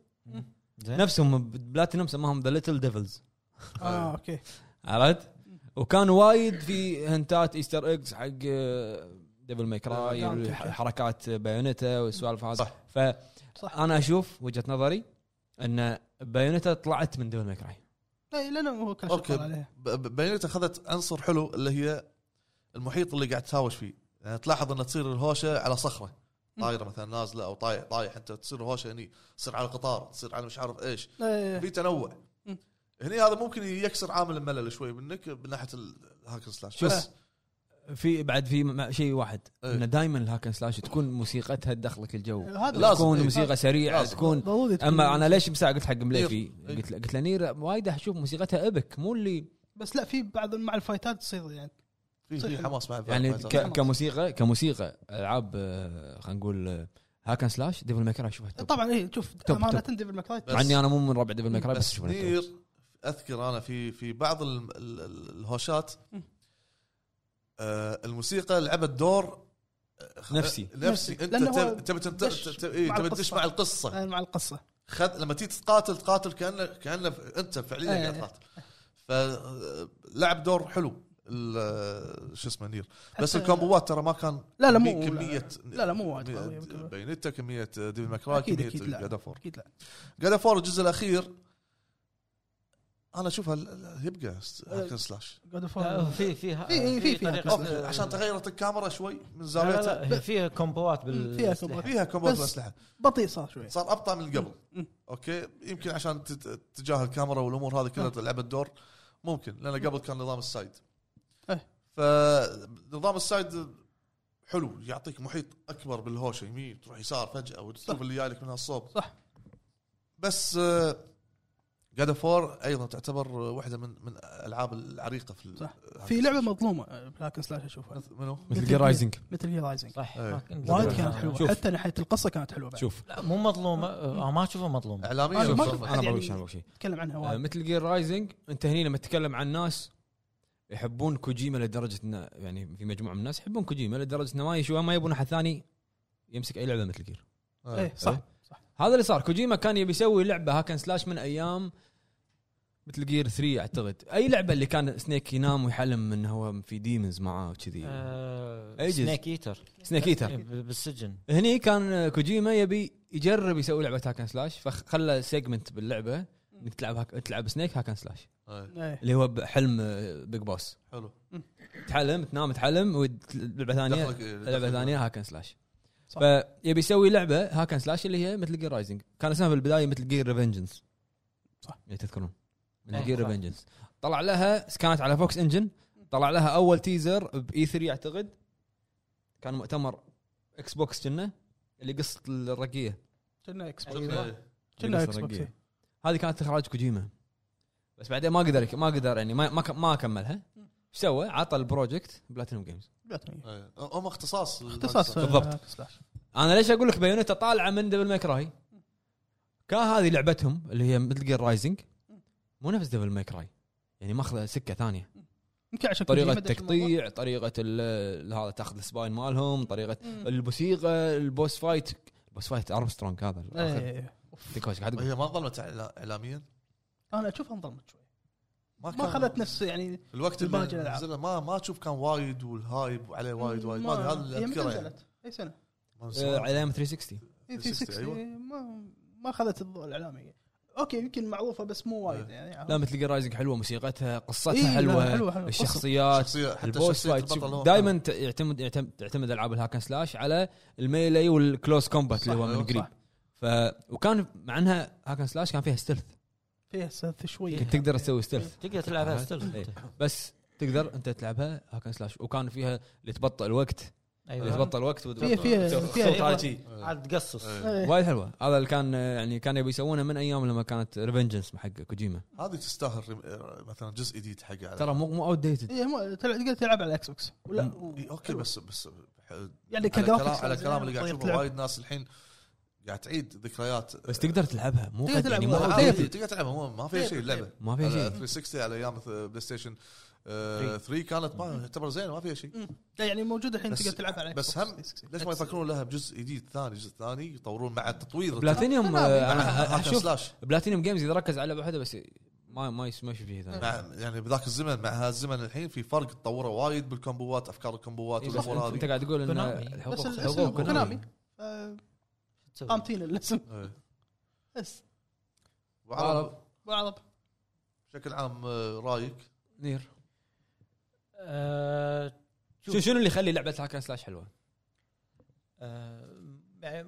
S4: زين.
S1: آه، نفسهم بلاتينوم سماهم ذا ليتل ديفلز
S3: إيه. آه.
S2: اه
S1: آه.
S2: اوكي
S1: عرفت وكان وايد في هنتات ايستر ايجز حق آه، ديفل ميك راي حركات بايونيتا والسوالف هذه
S3: صح.
S2: صح.
S1: فانا اشوف وجهه نظري ان بايونيتا طلعت من ديفل ميك راي
S2: لا لانه هو كان
S3: أوكي.
S2: شغال عليها
S3: ب- ب- بايونيتا اخذت عنصر حلو اللي هي المحيط اللي قاعد تهاوش فيه يعني تلاحظ انها تصير الهوشه على صخره طايره مثلا نازله او طايح طايح انت تصير الهوشه هني تصير على قطار تصير على مش عارف ايش
S1: إيه.
S2: لا،
S3: في تنوع
S2: مم.
S3: هني هذا ممكن يكسر عامل الملل شوي منك من ناحيه الهاكر سلاش
S1: شوف.
S3: بس
S1: في بعد في م- شيء واحد
S3: إيه.
S1: انه دائما الهاكن سلاش تكون موسيقتها تدخلك الجو
S2: هذا
S3: لازم.
S1: تكون
S3: إيه.
S1: موسيقى سريعه
S3: لازم.
S1: تكون
S2: ضروري تكون-
S1: اما انا ليش مساء قلت حق مليفي
S3: إيه.
S1: قلت له قلت له نير وايد اشوف موسيقتها ابك مو اللي
S2: بس لا في بعض مع الفايتات تصير يعني
S3: في في
S2: صحيح.
S3: حماس بعد
S1: يعني
S3: بعد-
S1: ك- كموسيقى كموسيقى العاب آه، خلينا نقول هاكن سلاش ديفل ميكراي اشوفها التوب.
S2: طبعا اي إيه، شوف
S1: توب،
S2: امانه
S1: توب.
S2: ديفل ماكراي
S3: بس-
S1: مع اني انا مو من ربع ديفل ميكراي بس
S3: بس
S1: اشوفها التوب.
S3: نير اذكر انا في في بعض ال- ال- ال- الهوشات
S2: مم.
S3: آه الموسيقى لعبت دور آه، خ-
S1: نفسي.
S3: نفسي انت
S2: لأنه هو
S3: تب- تبي تنت-
S2: دش
S3: تب- إيه،
S2: مع
S3: تبي
S2: القصة. آه.
S3: تدش مع القصه
S2: مع القصه
S3: خذ لما تيجي تقاتل تقاتل كانه كانه ف- انت فعليا
S2: إيه.
S3: قاعد تقاتل فلعب آه، دور حلو ال- آه، شو اسمه نير بس
S2: حتى-
S3: الكومبوات ترى ما كان
S2: لا لا
S3: كمي-
S2: مو
S3: كميه
S2: لا لا مو وايد
S3: كمية
S2: قوية بالكومبوات.
S3: بينتا كميه ديفي ماكراي
S2: أكيد- أكيد
S3: كميه
S2: لا.
S3: جاد فور
S2: اكيد لا
S3: جاد اوف وور الجزء الاخير انا اشوفها ال- ال- يبقى س-
S4: أه،
S3: هاكن سلاش
S2: جود اوف
S4: آه، في في
S2: في- في- في
S4: طريقة-
S3: اوكي عشان تغيرت الكاميرا شوي من
S4: لا، لا،
S3: زاويتها
S4: لا، هي فيها كومبوات
S2: مم،
S4: بال
S2: فيها كومبوات.
S3: فيها كومبوز
S2: بس-
S3: الاسلحه
S2: بطيء صار شوي
S3: صار ابطا من قبل
S2: مم.
S3: اوكي يمكن عشان تت- اتجاه الكاميرا والامور هذه
S2: نعم.
S3: كلها تلعب الدور ممكن لان قبل كان نظام السايد
S2: إيه.
S3: فنظام السايد حلو يعطيك محيط اكبر بالهوشه يمين تروح يسار فجاه وتشوف اللي جاي لك من هالصوب
S2: صح.
S3: بس آه، جاد فور ايضا تعتبر واحده من من الالعاب العريقه في ال-
S2: صح.
S3: هذا
S2: في لعبه مظلومه بلاك سلاش اشوفها
S3: مثل- منو؟
S1: مثل جير رايزنج
S2: مثل هي رايزنج
S4: صح
S3: إيه.
S2: وايد كانت
S1: شوف.
S2: حلوه حتى ناحيه القصه كانت حلوه بعد
S1: شوف
S4: لا، مو مظلومه آه، ما اشوفها مظلومه
S3: اعلاميه
S2: أنا ما
S3: ولا
S2: أشوف.
S3: فيلم؟
S1: انا
S2: يعني-
S1: بقول شيء أنا بقول شيء
S2: نتكلم عنها
S1: آه،
S2: وايد
S1: مثل جير رايزنج انت هني لما تتكلم عن ناس يحبون كوجيما لدرجه انه يعني في مجموعه من الناس يحبون كوجيما لدرجه انه ما يشوفون ما يبون احد ثاني يمسك اي لعبه مثل جير
S3: آه.
S2: ايه صح
S1: إيه. هذا اللي صار كوجيما كان يبي يسوي لعبه هاكن سلاش من ايام مثل جير 3 اعتقد اي لعبه اللي كان سنيك ينام ويحلم انه هو في ديمونز معاه وكذي
S4: آه،
S1: أيجز.
S4: سنيك ايتر
S1: سنيك ايتر
S4: بالسجن
S1: هني كان كوجيما يبي يجرب يسوي لعبه هاكن سلاش فخلى سيجمنت باللعبه انك تلعب هاك... تلعب سنيك هاكن سلاش
S3: إيه.
S2: إيه.
S1: اللي هو حلم بيج بوس
S3: حلو
S1: تحلم تنام تحلم ولعبه ثانيه
S3: دخلك-
S1: لعبه
S3: دخلك-
S1: ثانيه هاكن سلاش
S2: صح.
S1: فيبي يسوي لعبه هاكن سلاش اللي هي مثل جير رايزنج كان اسمها بالبدايه مثل جير ريفنجنس
S2: صح.
S1: يعني تذكرون
S4: إيه،
S1: مثل جير
S4: صح.
S1: ريفنجنس طلع لها كانت على فوكس انجن طلع لها اول تيزر باي 3 اعتقد E كان مؤتمر اكس بوكس كنا اللي قصه الرقيه
S2: كنا اكس بوكس
S3: شفنا-
S2: كنا
S1: قصة
S2: اكس بوكس
S1: رقية. هذه كانت اخراج كوجيما بس بعدين ما قدر ما قدر يعني ما ما, ك- ما كملها ايش سوى؟ عطى البروجكت بلاتينوم جيمز
S2: بلاتيني.
S3: إيه. هم اختصاص
S2: اختصاص
S1: بالضبط.
S2: آه، سلاش.
S1: انا ليش اقول لك بايونيتا طالعه من دبل ماي كراي كان هذه لعبتهم اللي هي مثل جير رايزنج مو نفس دبل ماي كراي يعني ماخذه سكه ثانيه
S2: يمكن عشان
S1: طريقه
S2: كوجيما دش الموضوع.
S1: التقطيع طريقه ال- هذا تاخذ السباين مالهم طريقه
S2: مم.
S1: الموسيقى البوس فايت البوس فايت ارمسترونج هذا الآخر.
S2: إيه. أوف.
S1: ديكوش قاعد أقول.
S3: هي ما انظلمت إعلا- اعلاميا
S2: انا اشوفها انظلمت شوي ما
S3: كان-
S2: اخذت نفس يعني
S3: في الوقت اللي
S2: الباقي الألعاب.
S3: نزلها ما ما تشوف كان وايد والهايب وعليه وايد وايد ما أدري،
S2: ما-
S3: هذا اللي
S2: هي متى
S3: اذكره يعني
S2: نزلت؟ اي سنه؟
S3: ما
S1: آه،
S3: نسوى.
S1: على أيام 360
S2: اي 360
S3: أيوة.
S2: إيه، ما ما اخذت الضوء الاعلامي اوكي يمكن معروفه بس مو وايد
S3: إيه.
S2: يعني
S1: لا مثل جير رايزنج حلوه موسيقتها
S2: إيه،
S1: قصتها
S2: لا،
S1: حلوه,
S2: حلوة، حلوة.
S1: الشخصيات
S3: شخصية حتى
S1: البوس
S3: شخصية
S1: فايت
S3: البطل
S2: آه.
S3: هو-
S1: دائما يعتمد يعتمد تعتمد العاب الهاكن سلاش على الميلي والكلوز كومبات اللي هو
S3: صح،
S1: من
S3: أيوة،
S1: قريب
S2: صح.
S1: ف وكان مع انها هاكن سلاش كان فيها ستيلث
S2: فيها سلث شوي
S1: كنت تقدر تسوي ستيلث
S4: تقدر تلعبها
S1: إيه.
S4: ستيل
S1: بس تقدر انت تلعبها هاكن سلاش وكان فيها اللي تبطئ الوقت
S2: آه.
S1: اذا
S4: ايوه
S1: بطل وقت ود-
S2: في في
S5: صوت
S2: في
S5: على شي
S4: إيه، عاد تقصص
S3: إيه.
S2: إيه.
S1: وايد حلوه هذا اللي كان يعني كان يبي يسوونه من ايام لما كانت ريفنجنس حق كوجيما
S3: هذه تستاهل ريم- مثلا جزء جديد حقه على
S1: ترى مو مو اوت ديتد
S2: إيه، مو- تلعب تقدر تلعب على الاكس بوكس ولا
S3: إيه، اوكي بس بس على
S2: يعني طيب
S3: كلام
S2: كجرافيكس
S3: على كلام اللي قاعد
S2: تقدر
S3: اشوفه
S2: تلعب.
S3: وايد ناس الحين قاعد تعيد ذكريات إيه.
S1: بس تقدر تلعبها مو
S2: تقدر
S1: قد- يعني مو
S2: تلعبها. آه.
S1: outdated.
S2: تلعب.
S3: تقدر تلعبها مو- ما فيها شيء اللعبه
S1: ما
S3: على
S1: فيها شيء إيه.
S3: 360 على ايام بلاي ستيشن آه، 3 كانت ما تعتبر زينه ما فيها شيء
S2: لا، يعني موجود الحين
S3: بس-
S2: تقدر تلعب على
S3: بس
S2: Xbox
S3: هم
S2: 360.
S3: ليش ما يفكرون لها بجزء جديد ثاني جزء ثاني يطورون مع التطوير
S1: بلاتينيوم
S2: لا، لا،
S1: آه،
S3: مع
S1: انا
S3: هاك أند
S1: اشوف
S3: سلاش
S1: بلاتينيوم جيمز اذا ركز على لعبه واحده بس ما ما يس- ما يشوف فيه
S2: نعم.
S1: ثاني
S3: مع يعني بذاك الزمن مع هالزمن الحين في فرق تطوره وايد بالكومبوات افكار الكومبوات
S1: إيه، بس
S3: والامور
S1: انت
S3: هذه
S1: أنت قاعد تقول ان
S4: كونامي.
S2: بس
S1: الحقوق-
S2: الاسم
S1: حقوق
S2: كونامي
S1: كونامي
S2: آه،
S4: تسوي؟
S2: قامتين الاسم
S3: إيه.
S2: بس
S3: وعرب
S1: آه.
S2: أبو عرب
S3: بشكل عام آه، رايك
S1: نير
S4: آه،
S1: شو شنو اللي يخلي لعبه هاكن سلاش حلوه؟
S4: آه، يعني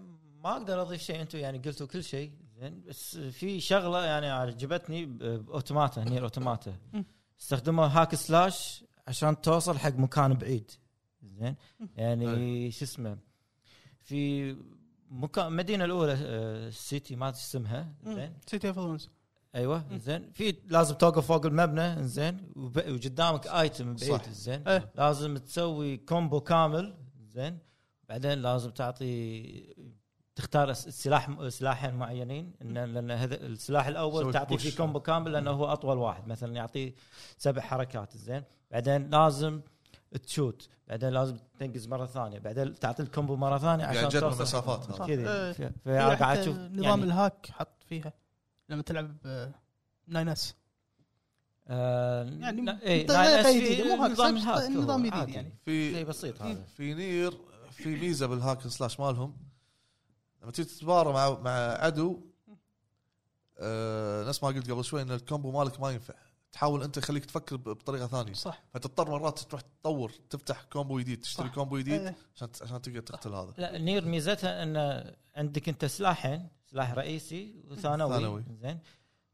S4: ما اقدر اضيف شيء انتم يعني قلتوا كل شيء زين بس في شغله يعني عجبتني ب- باوتوماتا هني اوتوماتا
S2: مم.
S4: استخدموا هاك سلاش عشان توصل حق مكان بعيد زين يعني شو اسمه في مكان مدينه الاولى آه، السيتي ما أدري شو اسمها زين
S2: سيتي اوف ثرونز
S4: ايوه
S2: مم.
S4: زين في لازم توقف فوق المبنى زين وب- وقدامك ايتم
S3: صح.
S4: بعيد زين
S2: إيه.
S4: لازم تسوي كومبو كامل زين بعدين لازم تعطي تختار س- سلاح سلاحين معينين إن- لان هذا السلاح الاول
S3: تسوي
S4: تعطيه
S3: push.
S4: فيه كومبو كامل لانه هو اطول واحد مثلا يعطيه سبع حركات زين بعدين لازم تشوت بعدين لازم تنقز مره ثانيه بعدين تعطي الكومبو مره ثانيه
S3: قاعد
S4: عشان
S3: يجرب
S4: توصل
S3: المسافات هذا.
S4: كذا
S2: إيه.
S4: ف- فقاعد اشوف
S2: نظام
S4: يعني-
S2: الهاك حط فيها لما تلعب آه، ناين اس يعني
S4: يعني
S2: طريقة
S4: إيه،
S2: جديدة، مو هاك، صح، نظام جديد يعني.
S3: في
S4: شيء بسيط هذا
S3: في نير في ميزه بالهاك أند سلاش مالهم لما تيجي تتبارى مع مع عدو آه نفس ما قلت قبل شوي ان الكومبو مالك ما ينفع تحاول انت خليك تفكر ب- بطريقه ثانيه
S2: صح
S3: فتضطر مرات تروح تطور تفتح كومبو جديد تشتري
S2: صح.
S3: كومبو جديد
S2: إيه.
S3: عشان عشان تقدر تقتل هذا
S4: لا نير ميزتها ان عندك انت سلاحين سلاح رئيسي وثانوي
S3: ثانوي.
S4: ثانوي زين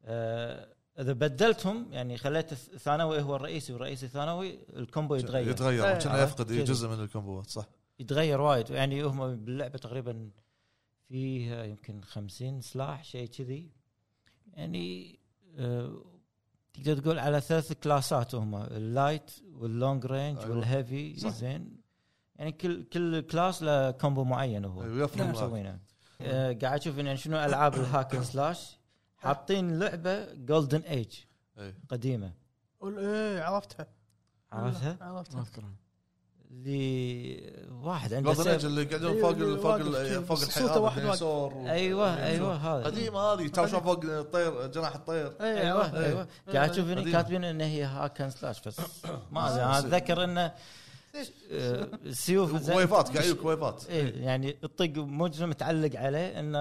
S4: آه، اذا بدلتهم يعني خليت الث- الثانوي هو الرئيسي والرئيسي ثانوي الكومبو يتغير
S3: يتغير
S2: إيه.
S3: عشان يفقد
S4: كذي.
S3: جزء من الكومبوات صح
S4: يتغير وايد يعني هم باللعبه تقريبا فيها يمكن 50 سلاح شيء كذي يعني آه، تقدر تقول على ثلاث كلاسات هم اللايت واللونج رينج
S3: أيوة.
S4: أيوة. والهيفي
S3: صح.
S4: زين يعني كل كل كلاس له كومبو معين هو
S3: أيوة، يفرق
S4: هم
S3: معك.
S4: مسوينه نعم. آه، قاعد اشوف إن يعني شنو العاب الهاك أند سلاش حاطين لعبه جولدن ايج
S3: أي.
S4: قديمه
S2: قول ايه عرفتها
S4: عرفتها؟
S1: ما
S2: عرفتها
S1: اذكر
S4: اللي واحد عنده
S3: جولدن ايج
S4: سيف
S3: اللي يقعدون
S2: أيوة،
S3: فوق
S2: اللي
S3: ال- فوق
S2: واقف
S3: ال-
S2: كذي.
S3: فوق
S2: صوته
S3: الحياه
S2: واحد أيوة،
S3: والديناصور
S2: واقف.
S3: و-
S4: ايوه ايوه هذا
S3: قديمه هذه تاوشن فوق الطير جناح الطير
S2: إيه،
S4: ايوه
S2: عرفتها.
S4: ايوه قاعد اشوف
S3: قديمة.
S4: إن كاتبين ان هي هاك اند سلاش بس ما ادري انا اتذكر انه آه، السيوف زين-
S3: ويفات قاعد يجيك ويفات
S4: إيه، يعني تطق مجرم تعلق عليه انه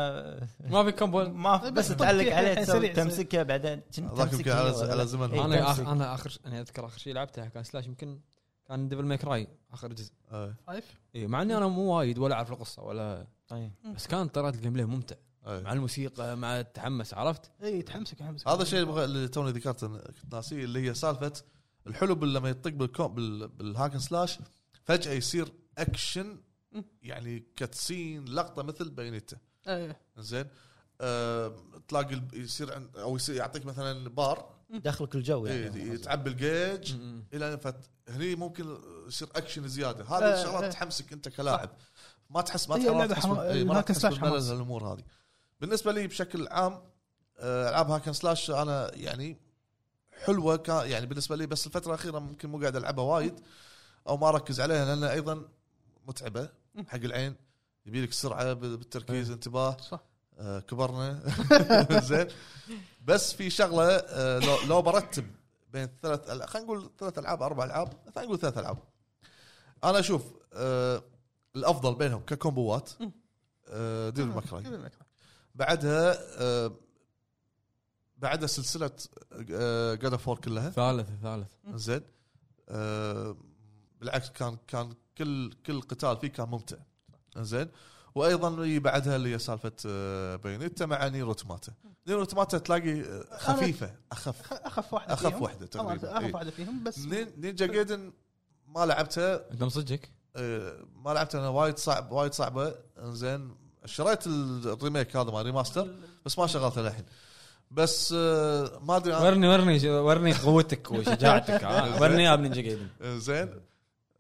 S1: ما في كمبو
S3: إيه،
S4: ما
S2: بس
S4: بس
S2: تطق
S4: تعلق
S2: فيه
S4: عليه
S2: الحين
S4: تسوي-
S2: سريع، سريع.
S4: تمسكها بعدين
S3: هذاك يمكن
S4: تمسك
S3: على-
S4: هنا ولا
S3: على
S4: لا.
S3: زمن.
S4: إيه،
S1: انا
S4: تمسك.
S1: آخ- انا اخر انا اذكر اخر شيء لعبتها كان سلاش يمكن كان ديفل ميك راي اخر جزء
S3: اي
S2: عارف
S1: اي إيه، مع اني انا مو وايد ولا اعرف القصه ولا
S4: طيب.
S1: بس كان ترى الجيم بلاي ممتع
S3: اي
S1: مع الموسيقى مع التحمس عرفت؟
S2: اي تحمسك تحمسك
S3: هذا الشيء اللي بغ- اللي توني ذكرته إن كنت ناسيه اللي هي سالفه الحلو بال- لما يطق بالكوم بال- بالهاك أند سلاش فجاه يصير اكشن
S2: مم.
S3: يعني كاتسين لقطه مثل بينته
S2: إيه.
S3: زين آم، تلاقي ال- يصير عن- او يصير يعطيك مثلا بار
S4: دخلك الجو
S3: إيه،
S4: يعني
S3: يتعبي الجيج
S1: م-م.
S3: الى ان فت... هني ممكن يصير اكشن زياده
S2: آه،
S3: هذه
S2: آه.
S3: الشغلات تحمسك انت كلاعب ما تحس ما
S2: هي
S3: تحس ما
S2: لعبة
S3: تحس
S2: حماس-
S3: بال- إيه، ما راح
S2: الهاك
S3: تحس
S2: سلاش
S3: بالملل
S2: حماس.
S3: الامور هذه بالنسبه لي بشكل عام آه، العاب هاك أند سلاش انا يعني حلوه ك... يعني بالنسبه لي بس الفتره الاخيره ممكن مو قاعد العبها وايد او ما اركز عليها لانها ايضا متعبه حق العين يبي لك سرعه بال- بالتركيز انتباه
S2: صح.
S3: آه كبرنا زين بس في شغله آه لو, لو برتب بين ثلاث ألعاب خلينا نقول ثلاث العاب اربع العاب خلينا نقول ثلاث العاب انا اشوف آه الافضل بينهم ككومبوات آه ديفل ماكراي
S2: كذا مكراي.
S3: بعدها آه بعدها آه، سلسله جاد اوف وور كلها
S1: ثالث ثالث
S3: زين آه بالعكس كان كان كل كل قتال فيه كان ممتع زين وايضا يجي بعدها اللي هي سالفه آه بينيتا مع نير اوتوماتا نير اوتوماتا تلاقي آه، خفيفه اخف
S2: أخ- اخف واحده
S3: أخف
S2: فيهم.
S3: واحدة تقريباً.
S2: طبعاً اخف
S3: إيه.
S2: واحده فيهم بس
S3: نين- نينجا جايدن ما لعبتها
S1: انت مصدقك؟
S3: آه، ما لعبت انا وايد صعب وايد صعبه انزين شريت الريميك هذا مال ريماستر بس ما شغلته للحين بس آه، ما ادري أنا-
S5: ورني ورني ورني قوتك وشجاعتك آه، ورني يا نينجا
S1: إيه،
S5: جايدن
S3: آه، زين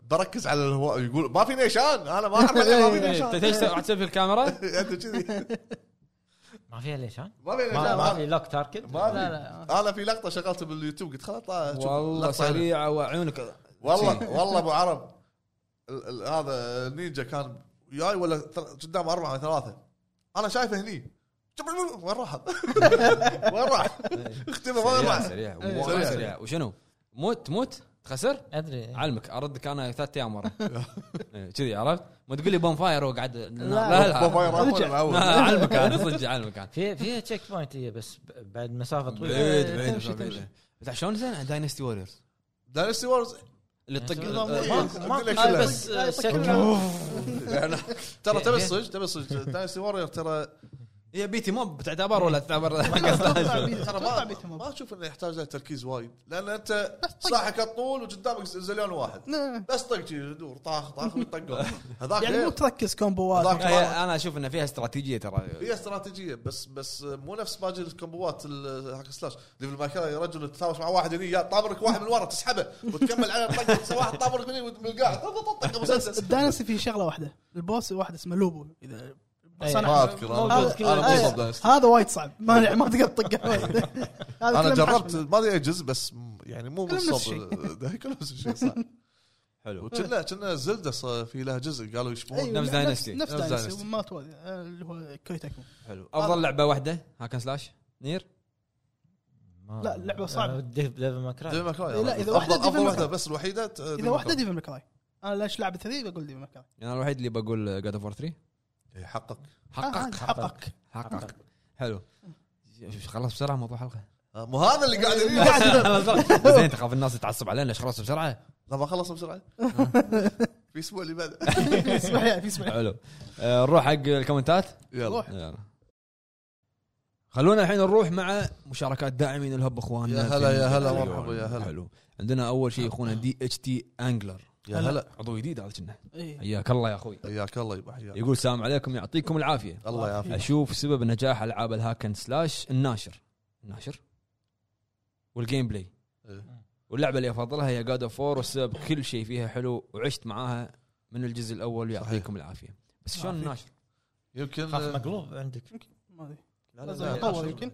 S3: بركز على الهواء يقول ما في نيشان انا ما اعرف
S1: إيه،
S3: ألعب، ما في
S5: انت
S3: نيشان
S5: تيجي راح تسوي الكاميرا
S3: انت كذي
S4: ما فيها ليش ها؟
S3: ما في
S4: ما
S3: نيشان
S4: ما
S3: ما-
S4: في لوك تاركت
S3: ما
S2: لا،
S3: في
S2: لا.
S3: انا في لقطه شغلتها باليوتيوب قلت خلاص طالع أشوف
S1: والله
S3: لقطة هنا.
S1: سريعه وعيونك
S3: والله والله ابو عرب ال- ال- هذا النينجا كان وياي ولا ثل- قدام اربعه ولا ثلاثه انا شايفه هني وين راح؟ وين راح؟ اختفى وين
S1: سريع
S3: راح؟
S1: سريع
S2: إيه.
S1: وايد سريع وشنو؟ موت موت تخسر
S4: ادري
S1: علمك اردك انا ثلاث ايام ورا إيه، كذي عرفت؟ ما تقول لي بون فاير وقعد
S2: لا،
S3: باباي راح ولا
S2: رجع.
S3: الأول؟
S1: علمك انا صدق طيب، علمك انا
S4: في فيها تشيك بوينت هي بس ب- بعد مسافه طويله
S1: بعيد بعيد
S2: تمشي،
S1: بعيد.
S2: تمشي.
S1: بتع- طيب. شلون زين داينستي ووريرز
S3: داينستي وورز
S1: اللي تطق
S4: ما-
S1: آه،
S4: ماكو ماكو
S3: لك
S4: شيء
S3: لا.
S4: بس آه، شكل
S3: ترى تبي الصج تبي الصج داينستي وورير ترى
S1: هي بيتي مو بتعتبر ولا تعتبر
S2: إيه. تطلع بيت-
S3: ترى
S2: تطلع بيت
S3: ما
S2: همم.
S3: ما اشوف انه يحتاج له تركيز وايد لان انت صاحك الطول وقدامك زليون واحد
S2: نعم.
S3: بس طق شي، دور طاخ طاخ وطق هذاك
S2: يعني مو
S3: غير.
S2: تركز كومبوات
S3: هذاك ما-
S1: انا اشوف انه فيها استراتيجيه ترى
S3: هي استراتيجيه بس بس مو نفس باقي الكومبوات ال- هاك سلاش ديفل ماي كراي رجل تتهاوش مع واحد هني يا طابرك واحد من ورا تسحبه وتكمل عليه طق تصير واحد طابرك من هني وت- من القاع طق طق طق مسلسل
S2: الداينسي في شغله واحده البوس واحد اسمه لوبو اذا
S4: أي.
S2: صنع-
S3: ما اذكر
S4: موجود
S3: انا
S4: كل-
S3: أنا
S2: أي.
S3: مو صب Dynasty.
S2: هذا وايد صعب ما ما تقدر تطقه وايد. هذا
S3: انا
S2: كله
S3: جربت
S2: محشمل.
S3: ما ادري اي جزء بس م- يعني مو
S2: كلهم نفس
S3: مصاب
S2: الشيء.
S3: كلهم نفس الشيء صح
S1: حلو
S3: وكنا كنا زلده صار في لها جزء قالوا يشبهون
S2: أيوة،
S1: نفس
S2: نفس
S1: داينستي.
S2: نفس
S3: نفس
S2: داينستي
S3: داينستي.
S2: وما توالي اللي هو كويتاكو
S1: حلو افضل لعبه واحده هاكن سلاش نير
S2: لا،
S1: آه،
S2: اللعبة صعبة.
S4: ديفل آه، ماكراي
S3: ديفل ماكراي
S2: لا، إذا
S3: افضل
S2: واحدة Devil
S3: افضل
S2: May
S3: واحده
S2: Cry.
S3: بس الوحيده
S2: اذا واحده ديفل ماكراي انا ليش لعبت هذي بقول ديفل ماكراي
S1: انا الوحيد اللي بقول جاد اوف 3
S3: إيه، حقك
S2: آه،
S1: حقق
S2: حقك
S1: حقق حلو ش- خلص بسرعه موضوع حلقه
S3: آه، مو هذا اللي قاعد
S2: إيه،
S3: هني.
S1: زين تخاف الناس تتعصب علينا ليش خلص بسرعه
S3: لما اخلص بسرعه في اسبوع اللي بعده
S2: في اسبوع في اسبوع
S1: حلو آه، نروح حق الكومنتات
S3: يلا
S1: يلا. خلونا الحين نروح مع مشاركات داعمين الهب اخواننا
S3: يا هلا،
S1: في-
S3: يا هلا،
S1: في-
S3: مرحبا، يا هلا.
S1: حلو عندنا اول شيء اخونا دي اتش تي انجلر
S3: يا هلا
S1: عضو جديد هذا كنا
S2: إيه.
S1: حياك الله يا اخوي
S3: حياك الله يبا حياك
S1: يقول السلام عليكم يعطيكم العافيه
S3: الله يعافيك
S1: اشوف سبب نجاح العاب الهاكن سلاش الناشر الناشر والجيم بلاي
S3: إيه.
S1: واللعبه اللي افضلها هي جاد اوف 4 والسبب كل شيء فيها حلو وعشت معاها من الجزء الاول يعطيكم العافيه بس شلون الناشر؟
S3: يمكن
S4: خاف مقلوب عندك
S2: ما أدري.
S1: لا لا
S2: لا، يطور يمكن.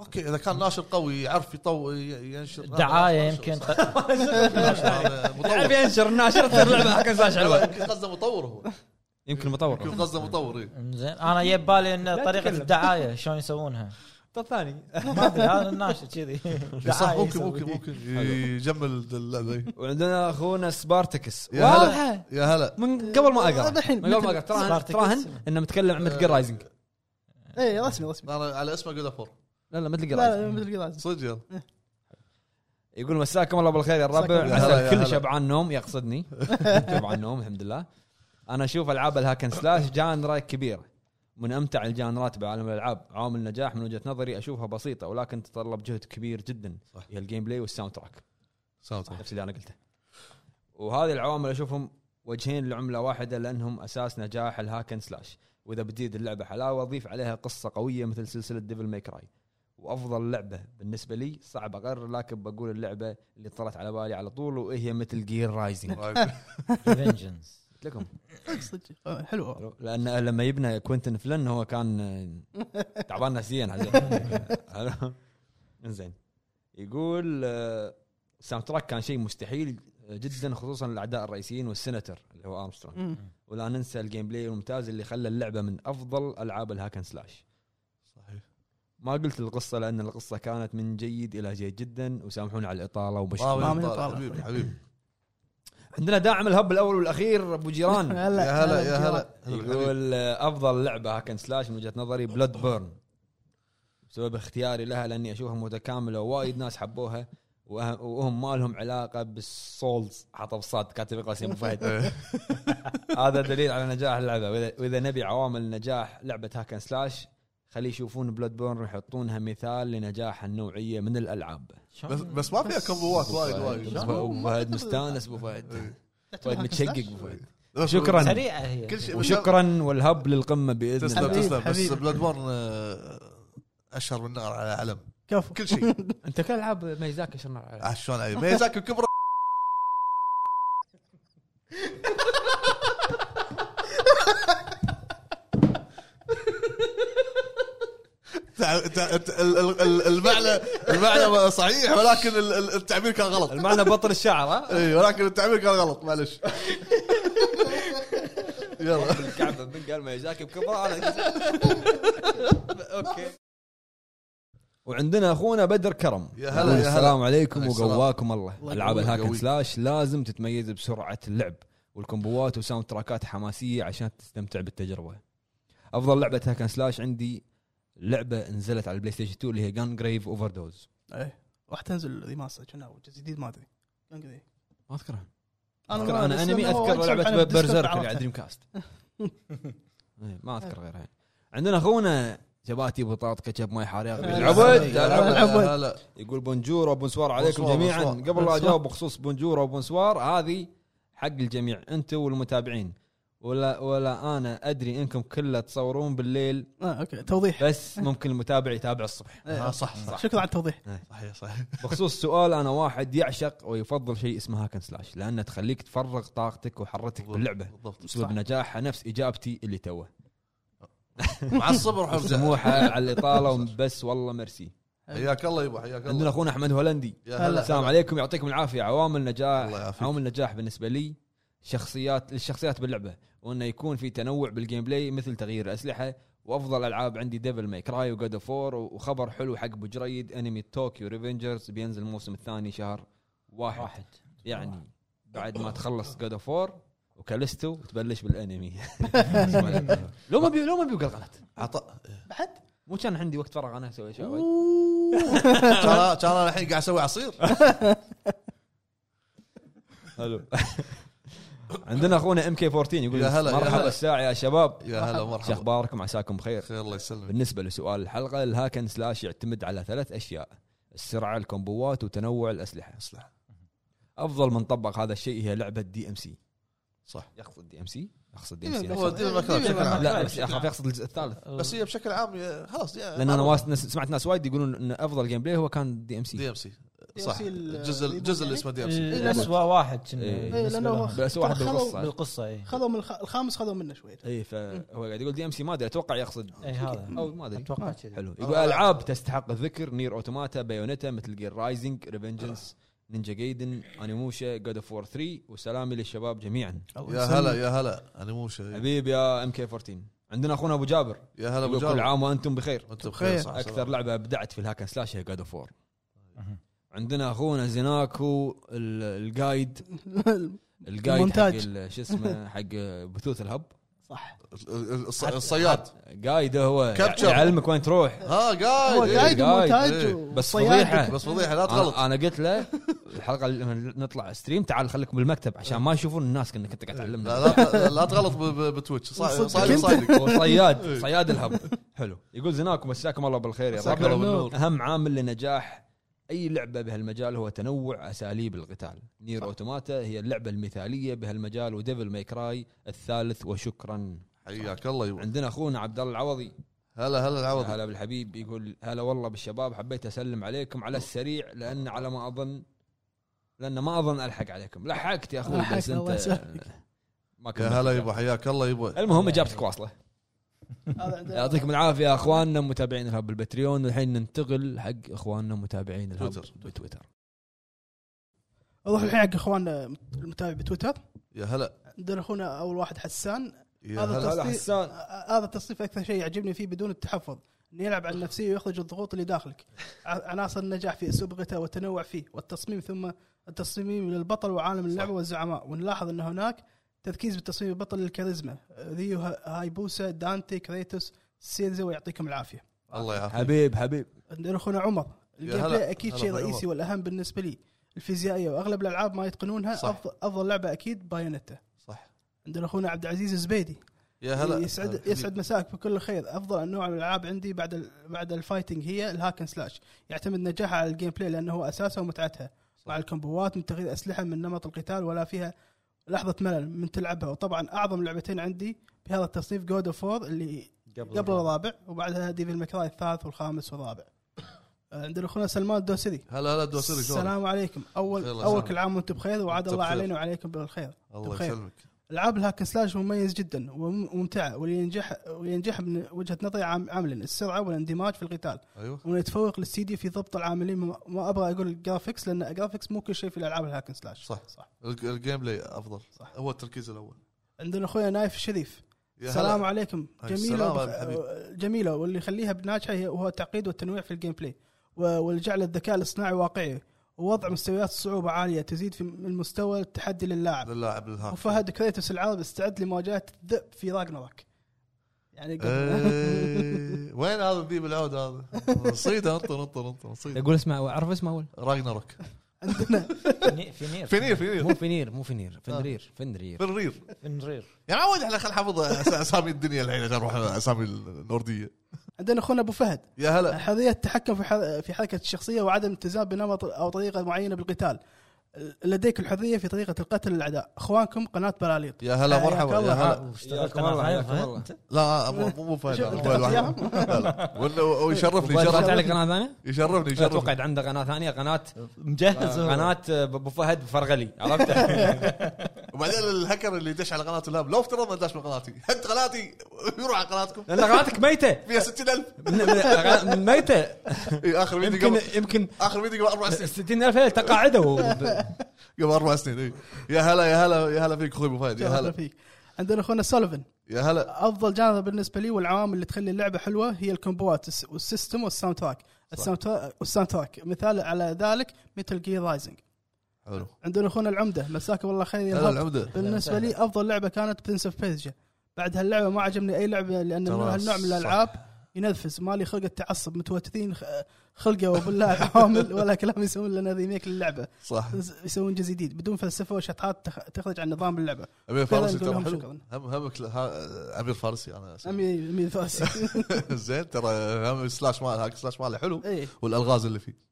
S3: اوكي اذا كان ناشر قوي يعرف يطو ي- ينشر
S4: دعايه
S3: ناشر
S4: يمكن
S3: صح.
S4: قد-
S3: ناشر هذا
S1: تعرف
S3: مطور
S1: ينشر الناشر تصير لعبه هاكن سلاش
S3: لا،
S1: حلوه
S3: يمكن قصده مطور هو
S1: يمكن مطور
S3: يمكن قصده مطور إيه.
S4: زين انا جاي بالي ان
S1: لا
S4: طريقه
S1: تتكلم.
S4: الدعايه شلون يسوونها
S1: الثاني
S4: ما ادري هذا الناشر كذي
S3: صح
S4: دعاية
S3: ممكن
S4: يسوي.
S3: ممكن ممكن يجمل اللعبه
S1: وعندنا اخونا سبارتكس
S3: يا هلا.
S1: واضحه
S3: يا هلا
S1: من قبل ما
S2: هذا
S1: اقرا
S2: آه، الحين
S1: من قبل ما اقرا تراهن
S4: سبارتكس.
S1: تراهن انه متكلم عن مثل رايزنج
S2: اي إيه، رسمي رسمي
S3: انا على اسمه جود فور
S1: لا لا مثل
S2: لا،
S1: رايزنج
S2: لا مثل قراز
S3: صدق يلا
S1: يقول مساكم الله بالخير يا الربع
S2: مساكم
S3: الله. يا هلا،
S1: عسى
S3: يا
S1: الكل
S3: هلا.
S1: شبعان نوم يقصدني شبعان نوم الحمد لله انا اشوف العاب الهاكن سلاش جانرا كبيره من امتع الجانرات بعالم الالعاب عامل نجاح من وجهه نظري اشوفها بسيطه ولكن تتطلب جهد كبير جدا
S3: صح.
S1: هي الجيم بلاي والساوند تراك
S3: سلام عليكم.
S1: نفس اللي انا قلته وهذه العوامل اشوفهم وجهين لعمله واحده لانهم اساس نجاح الهاكن سلاش واذا بتزيد اللعبه حلاوه ضيف عليها قصه قويه مثل سلسله ديفل ماي كراي وافضل لعبه بالنسبه لي صعب اقرر لكن بقول اللعبه اللي طلعت على بالي على طول وهي مثل جير رايزنج
S3: رايك.
S4: Vengeance.
S1: قلت لكم
S2: صدق آه، حلو
S1: لان لما يبنى كوينتن فلن هو كان آه، تعبان نفسيا حزين. انزين يقول آه، الساوند تراك كان شيء مستحيل جدا خصوصا الاعداء الرئيسيين والسنتر اللي هو ارمسترونج
S2: مم.
S1: ولا ننسى الجيم بلاي الممتاز اللي خلى اللعبه من افضل العاب الهاكن سلاش
S3: صحيح
S1: ما قلت القصه لان القصه كانت من جيد الى جيد جدا وسامحوني على الاطاله وبشكر
S3: ما
S2: ما من
S3: من
S2: طالع.
S3: حبيبي حبيبي
S1: عندنا داعم الهب الاول والاخير ابو جيران
S2: هلا
S3: يا هلا يا
S2: بالجيران.
S3: هلا يقول
S1: يقول آه، افضل لعبه هاكن سلاش من وجهه نظري بلاد بيرن بسبب اختياري لها لاني اشوفها متكامله ووايد ناس حبوها وأه- وهم ما لهم علاقه بالسولز حطب صاد كاتب قاسم ابو فهد هذا دليل على نجاح اللعبه واذا واذا نبي عوامل نجاح لعبه هاكن سلاش خليه يشوفون بلاد بورن ويحطونها مثال لنجاح النوعيه من الالعاب
S4: شلون؟
S3: بس بس ما فيها كومبوات وايد وايد
S1: ابو فهد مستانس ابو فهد فهد متشقق ابو فهد شكراً.
S4: سريعه هي
S3: كل شيء
S1: وشكرا والهب للقمه باذن
S3: تسلم
S1: الله
S2: حبيب،
S3: تسلم بس
S2: حبيب.
S3: بلاد بورن اشهر من نار على علم
S2: كفو
S3: كل شيء
S1: انت كل العاب ميزاك شنو عليها.
S3: عاد شلون أي- ميزاك الكبرى تع- تع- ت- ال- ال- ال- المعنى المعنى صحيح ولكن ال- ال- التعبير كان غلط
S5: المعنى بطل الشعر ها
S3: اي إيه، ولكن التعبير كان غلط معلش يلا
S5: الكعبه من قال ميزاك بكبره انا اوكي
S1: وعندنا اخونا بدر كرم
S3: يا هلا،
S1: يقول
S3: يا هلا.
S1: السلام عليكم
S3: عليك السلام.
S1: وقواكم الله
S3: الله
S1: العاب
S3: يقويك،
S1: الهاك أند
S3: يقويك.
S1: سلاش لازم تتميز بسرعه اللعب والكومبوات وساوند تراكات حماسيه عشان تستمتع بالتجربه افضل لعبه هاك أند سلاش عندي لعبه نزلت على البلاي ستيشن 2 اللي هي جان جريف اوفر دوز
S2: ايه راح تنزل ذي ماسا كنا أو جزء جديد ما ادري كان كذي.
S1: ما اذكرها
S2: ما-
S1: اذكر انا
S2: بس
S1: انمي اذكر
S2: لأنه وايد سمعت
S1: لعبه
S2: عنها بالديسكورد
S1: برزيرك اللي
S2: عرفتها.
S1: على دريم كاست إيه، ما اذكر غيرها عندنا اخونا شباتي بطاط كتشب ماي حار يا أخي. العبد العبد
S3: لا لا
S1: يقول بونجور وبونسوار عليكم
S3: بونسوار،
S1: جميعا
S3: بونسوار.
S1: قبل لا اجاوب بخصوص بونجور وبونسوار هذه حق الجميع انتم والمتابعين ولا ولا انا ادري انكم كله تصورون بالليل
S2: آه، اوكي توضيح
S1: بس ممكن المتابع يتابع الصبح
S2: إيه.
S3: آه، صح صح
S2: شكرا على التوضيح
S3: صحيح صح
S1: بخصوص سؤال انا واحد يعشق ويفضل شيء اسمه هاكن سلاش لانه تخليك تفرغ طاقتك وحرتك باللعبه
S3: بالضبط
S1: اسلوب نجاحها نفس اجابتي اللي توه
S3: مع الصبر وحفزه
S1: سموحه على الاطاله بس والله مرسي
S3: حياك الله يبا حياك
S1: عندنا
S3: الله
S1: اخونا احمد هولندي
S3: يا هلا
S1: السلام عليكم يعطيكم العافيه عوامل
S3: الله
S1: نجاح
S3: يعافيك.
S1: عوامل نجاح بالنسبه لي شخصيات الشخصيات باللعبه وانه يكون في تنوع بالجيم بلاي مثل تغيير الاسلحه وافضل العاب عندي ديفل ماي كراي وجود اوف وور وخبر حلو حق ابو جريد انمي طوكيو ريفنجرز بينزل الموسم الثاني شهر واحد, واحد.
S4: واحد
S3: آه.
S1: يعني بعد ما تخلص جود اوف وور وكالستو تبلش بالانمي لو ما بي لو ما بيقول غلط
S3: عطاء
S2: بعد
S1: مو كان عندي وقت فراغ انا اسوي اشياء وايد.
S3: ترى ترى انا الحين قاعد اسوي عصير
S1: حلو عندنا اخونا ام كي 14 يقول
S3: يا هلا، يا
S1: مرحبا
S3: هلا.
S1: الساعه يا شباب
S3: يا هلا
S1: شو
S3: مرحبا
S1: اخباركم عساكم بخير
S3: خير الله يسلمك
S1: بالنسبه لسؤال الحلقه الهاكن سلاش يعتمد على ثلاث اشياء السرعه الكومبوات وتنوع الاسلحه
S3: اسلحه
S1: افضل من طبق هذا الشيء هي لعبه دي ام سي
S3: صح إيه،
S1: يقصد دي ام سي يقصد دي ام سي
S3: هو
S1: نفسها.
S3: دين المكان بشكل عام
S1: لا بس اخاف يقصد الجزء الثالث
S3: بس هي بشكل عام يا- خلاص يا-
S1: لان انا واس- ناس- سمعت ناس وايد يقولون ان افضل جيم بلاي هو كان دي ام سي
S3: دي ام سي صح
S2: DMC ال-
S3: الجزء الجزء اللي اسمه دي ام سي
S4: الاسوء واحد كنا
S1: إيه.
S4: بالنسبة
S2: إيه، لأنه
S4: لهم. إيه.
S2: هو-
S1: بس واحد
S2: ترى خلوا-
S1: بالقصه
S4: بالقصه اي
S2: خذوا من الخ- الخامس خذوا منه شويه
S1: اي فهو إيه، قاعد يقول دي ام سي ما ادري اتوقع يقصد
S4: اي إيه، هذا
S1: او ما ادري
S4: اتوقع كذي
S1: حلو يقول العاب تستحق الذكر نير اوتوماتا بايونيتا مثل جير رايزنج ريفنجنس نينجا جايدن انيموشا جود اوف وور 3 وسلامي للشباب جميعا
S3: يا هلا يا هلا انا مو شيء
S1: حبيب يا ام كي 14 عندنا اخونا ابو جابر
S3: يا هلا ابو
S1: يقول كل
S3: جابر
S1: عام وانتم بخير
S3: انت بخير صح
S1: اكثر لعبه ابدعت في الهاكن سلاش هي جود اوف وور عندنا اخونا زيناكو ال- الجايد الجايد حق
S2: المونتاج.
S1: ال- شو اسمه حق بثوث الهب
S2: صح
S3: ال- ال- الص- الصياد
S1: جايد هو يعني
S3: Capture.
S1: يعلمك وين تروح
S3: ها
S2: هو
S3: قايد إيه.
S2: قايد
S1: قايد،
S3: إيه.
S2: ومونتاج
S1: بس
S2: وصياد.
S1: فضيحة.
S3: بس فضيحه لا تغلط
S1: انا أنا قلت له الحلقه اللي لما نطلع ستريم تعال خليكم بالمكتب عشان ما يشوفون الناس انك انت قاعد تعلمنا
S3: لا لا لا تغلط ب- ب- بتويتش صا-
S2: صدق
S3: صاير
S2: أنت.
S3: صادق
S1: هو
S3: إيه.
S1: صياد صياد الهب حلو يقول زناكم مساكم الله بالخير يا
S3: مساك
S1: رب
S3: الله بالنور.
S1: اهم عامل لنجاح اي لعبه بهالمجال هو تنوع اساليب القتال نير اوتوماتا هي اللعبه المثاليه بهالمجال وديفل ماي كراي الثالث وشكرا
S3: حياك الله يبا
S1: عندنا اخونا عبد الله العوضي
S3: هلا هلا العوض
S1: هلا بالحبيب يقول هلا والله بالشباب حبيت اسلم عليكم على السريع لان على ما اظن لان ما اظن الحق عليكم لحقت يا اخوي
S2: لحقت،
S1: بس
S2: الله
S1: انت
S2: يسلمك.
S1: ما كملت
S3: يا هلا يبا حياك الله يبا
S1: المهم اجابتك واصله
S2: هذا عندنا.
S1: يعطيكم العافيه يا اخواننا متابعين الهب بالبتريون والحين ننتقل حق اخواننا متابعين الهب
S3: تويتر.
S1: بتويتر
S2: اروح الحين حق اخواننا المتابع بتويتر
S3: يا هلا
S2: عندنا اخونا اول واحد حسان
S3: يا
S2: هذا
S3: هلا
S2: التص-
S1: هلا
S2: هلا
S1: حسان
S2: آه، هذا التصنيف اكثر شيء يعجبني فيه بدون التحفظ انه يلعب على النفسيه ويخرج الضغوط اللي داخلك ع- عناصر النجاح في اسلوب القتال والتنوع فيه والتصميم ثم التصميم للبطل وعالم اللعبه والزعماء ونلاحظ ان هناك تركيز بالتصميم البطل للكاريزما ريو ه- هايبوسا دانتي كريتوس سينزا ويعطيكم العافيه
S3: الله يعافيك
S1: حبيب حبيب
S2: عندنا اخونا عمر الجيم
S3: هلا.
S2: بلاي اكيد
S3: هلا
S2: شيء
S3: أخوي
S2: رئيسي
S3: عمر.
S2: والاهم بالنسبه لي الفيزيائيه واغلب الالعاب ما يتقنونها
S3: صح.
S2: أفضل, افضل لعبه اكيد بايونيتا
S3: صح
S2: عندنا اخونا عبد العزيز الزبيدي
S3: يا هلا آه،
S2: يسعد
S3: حبيب.
S2: يسعد مساك بكل خير افضل نوع من الالعاب عندي بعد ال- بعد الفايتنج هي الهاكن سلاش يعتمد نجاحها على الجيم بلاي لانه هو اساسها ومتعتها مع الكومبوات من تغيير اسلحه من نمط القتال ولا فيها لحظه ملل من تلعبها وطبعا اعظم لعبتين عندي بهذا التصنيف جود اوف وور اللي
S4: قبل
S2: قبل الرابع وبعدها ديفل مكراي الثالث والخامس والرابع آه، عندنا اخونا سلمان الدوسري
S3: هلا هلا دوسري شلونك؟
S2: السلام عليكم اول
S3: خير الله
S2: اول
S3: يسلمك.
S2: كل عام وانتم بخير وعاد
S3: وأنت
S2: الله
S3: بخير.
S2: علينا وعليكم بالخير
S3: الله
S2: بخير.
S3: يسلمك
S2: العاب الهاك سلاش مميز جدا وم- وممتعه واللي ينجح واللي ينجح من وجهه نظري عام- عاملين السرعه والاندماج في القتال
S3: ايوه
S2: ونتفوق للسيدي في ضبط العاملين ما- ما ابغى اقول الجرافكس لان الجرافكس مو كل شيء في الالعاب الهاكن سلاش
S3: صح.
S2: صح
S3: الج- الجيم بلاي افضل
S2: صح.
S3: هو التركيز الاول
S2: عندنا اخويا نايف الشريف
S3: يا هلا.
S2: السلام عليكم
S3: هاي
S2: جميله
S3: السلام
S2: وبخ...
S3: يا
S2: جميله واللي يخليها بناجحه هي- هو التعقيد والتنويع في الجيم بلاي و- والجعل الذكاء الاصطناعي واقعي ووضع مستويات الصعوبه عاليه تزيد في من مستوى التحدي للاعب
S3: للاعب الهاك
S2: وفهد كريتوس العرب استعد لمواجهه الذئب في راجناروك يعني
S3: أه.
S2: قبل
S3: إيه. وين هذا الذيب العود هذا؟ صيده انطر انطر انطر صيده
S1: اقول اسمع اعرف اسمه اول
S3: راجنروك
S2: عندنا
S4: فينير فينير
S3: فينير فينير
S1: مو فينير مو فينير فندرير فندرير
S3: فنرير
S4: فينير
S3: يا معود احنا خل حافظ أس- اسامي الدنيا الحين عشان نروح اسامي النورديه
S2: عندنا اخونا ابو فهد
S3: يا هلا
S2: حريه التحكم في حر- في حركه الشخصيه وعدم التزام بنمط او طريقه معينه بالقتال لديك الحريه في طريقه القتل الاعداء اخوانكم قناه بلاليط
S3: يا هلا
S2: حياك
S3: مرحبا يا
S2: الله.
S4: آه،
S3: هلا
S4: واشتغلت
S5: حياكم الله،
S4: أنا
S5: حياكم
S4: فهد.
S5: الله.
S4: أنت؟
S3: لا مو مو- مو فهد
S2: شوف،
S3: هذا
S2: أنت
S3: موبايل واحد.
S2: أخذت
S3: لا، لا. وإنه- ويشرفني
S1: فتحت
S3: يشرفني
S1: عليك قناه ثانيه؟
S3: يشرفني
S1: لا، اتوقع
S3: يشرفني
S1: إذا عنده قناه ثانيه قناه
S4: مجهز
S2: آه،
S4: هو.
S1: قناه ابو فهد فرغلي عرفته
S3: وبعدين الهكر اللي يدش على قناه اللاب لو افترضنا داش من قناتي هد قناتي يروح على قناتكم
S1: لان قناتك ميته
S3: فيها 60000
S1: من- من- ميته
S3: إيه، اخر
S1: يمكن
S3: فيديو قبل
S1: يمكن
S3: اخر فيديو قبل اربع سنين
S1: 60000 تقاعدوا
S3: قبل اربع سنين إيه. يا هلا يا هلا يا هلا فيك اخوي ابو فهد يا
S2: هلا
S3: هلا
S2: فيك عندنا اخونا سولفن
S3: يا هلا
S2: افضل جانب بالنسبه لي والعوامل اللي تخلي اللعبه حلوه هي الكومبوات الس- والسيستم والساوند تراك الساوند تراك والساوند تراك مثال على ذلك مثل جير رايزنج
S3: حلو
S2: عندنا اخونا العمده مساكم الله خير يا
S3: هلا
S2: الهب.
S3: العمده
S2: بالنسبه لي افضل لعبه كانت برنس اوف بيرجيا بعد هاللعبه ما عجبني اي لعبه لان
S3: ترى
S2: نوع- هالنوع من
S3: صح.
S2: الالعاب ينرفز مالي خلق التعصب متوترين خ- خلقه وبالله عوامل ولا كلام يسوون لنا ريميك للعبه
S3: صح
S2: يسوون جزء جديد بدون فلسفه وشطحات تخ- تخرج عن نظام اللعبه
S3: امير فارسي
S2: نقول
S3: ترى
S2: لهم
S3: حلو
S2: شكراً.
S3: هم همك ها- امير فارسي انا أسف.
S2: امي امي فاسي
S3: زين ترى هم سلاش مال هاك سلاش ماله حلو
S2: إيه.
S3: والالغاز اللي فيه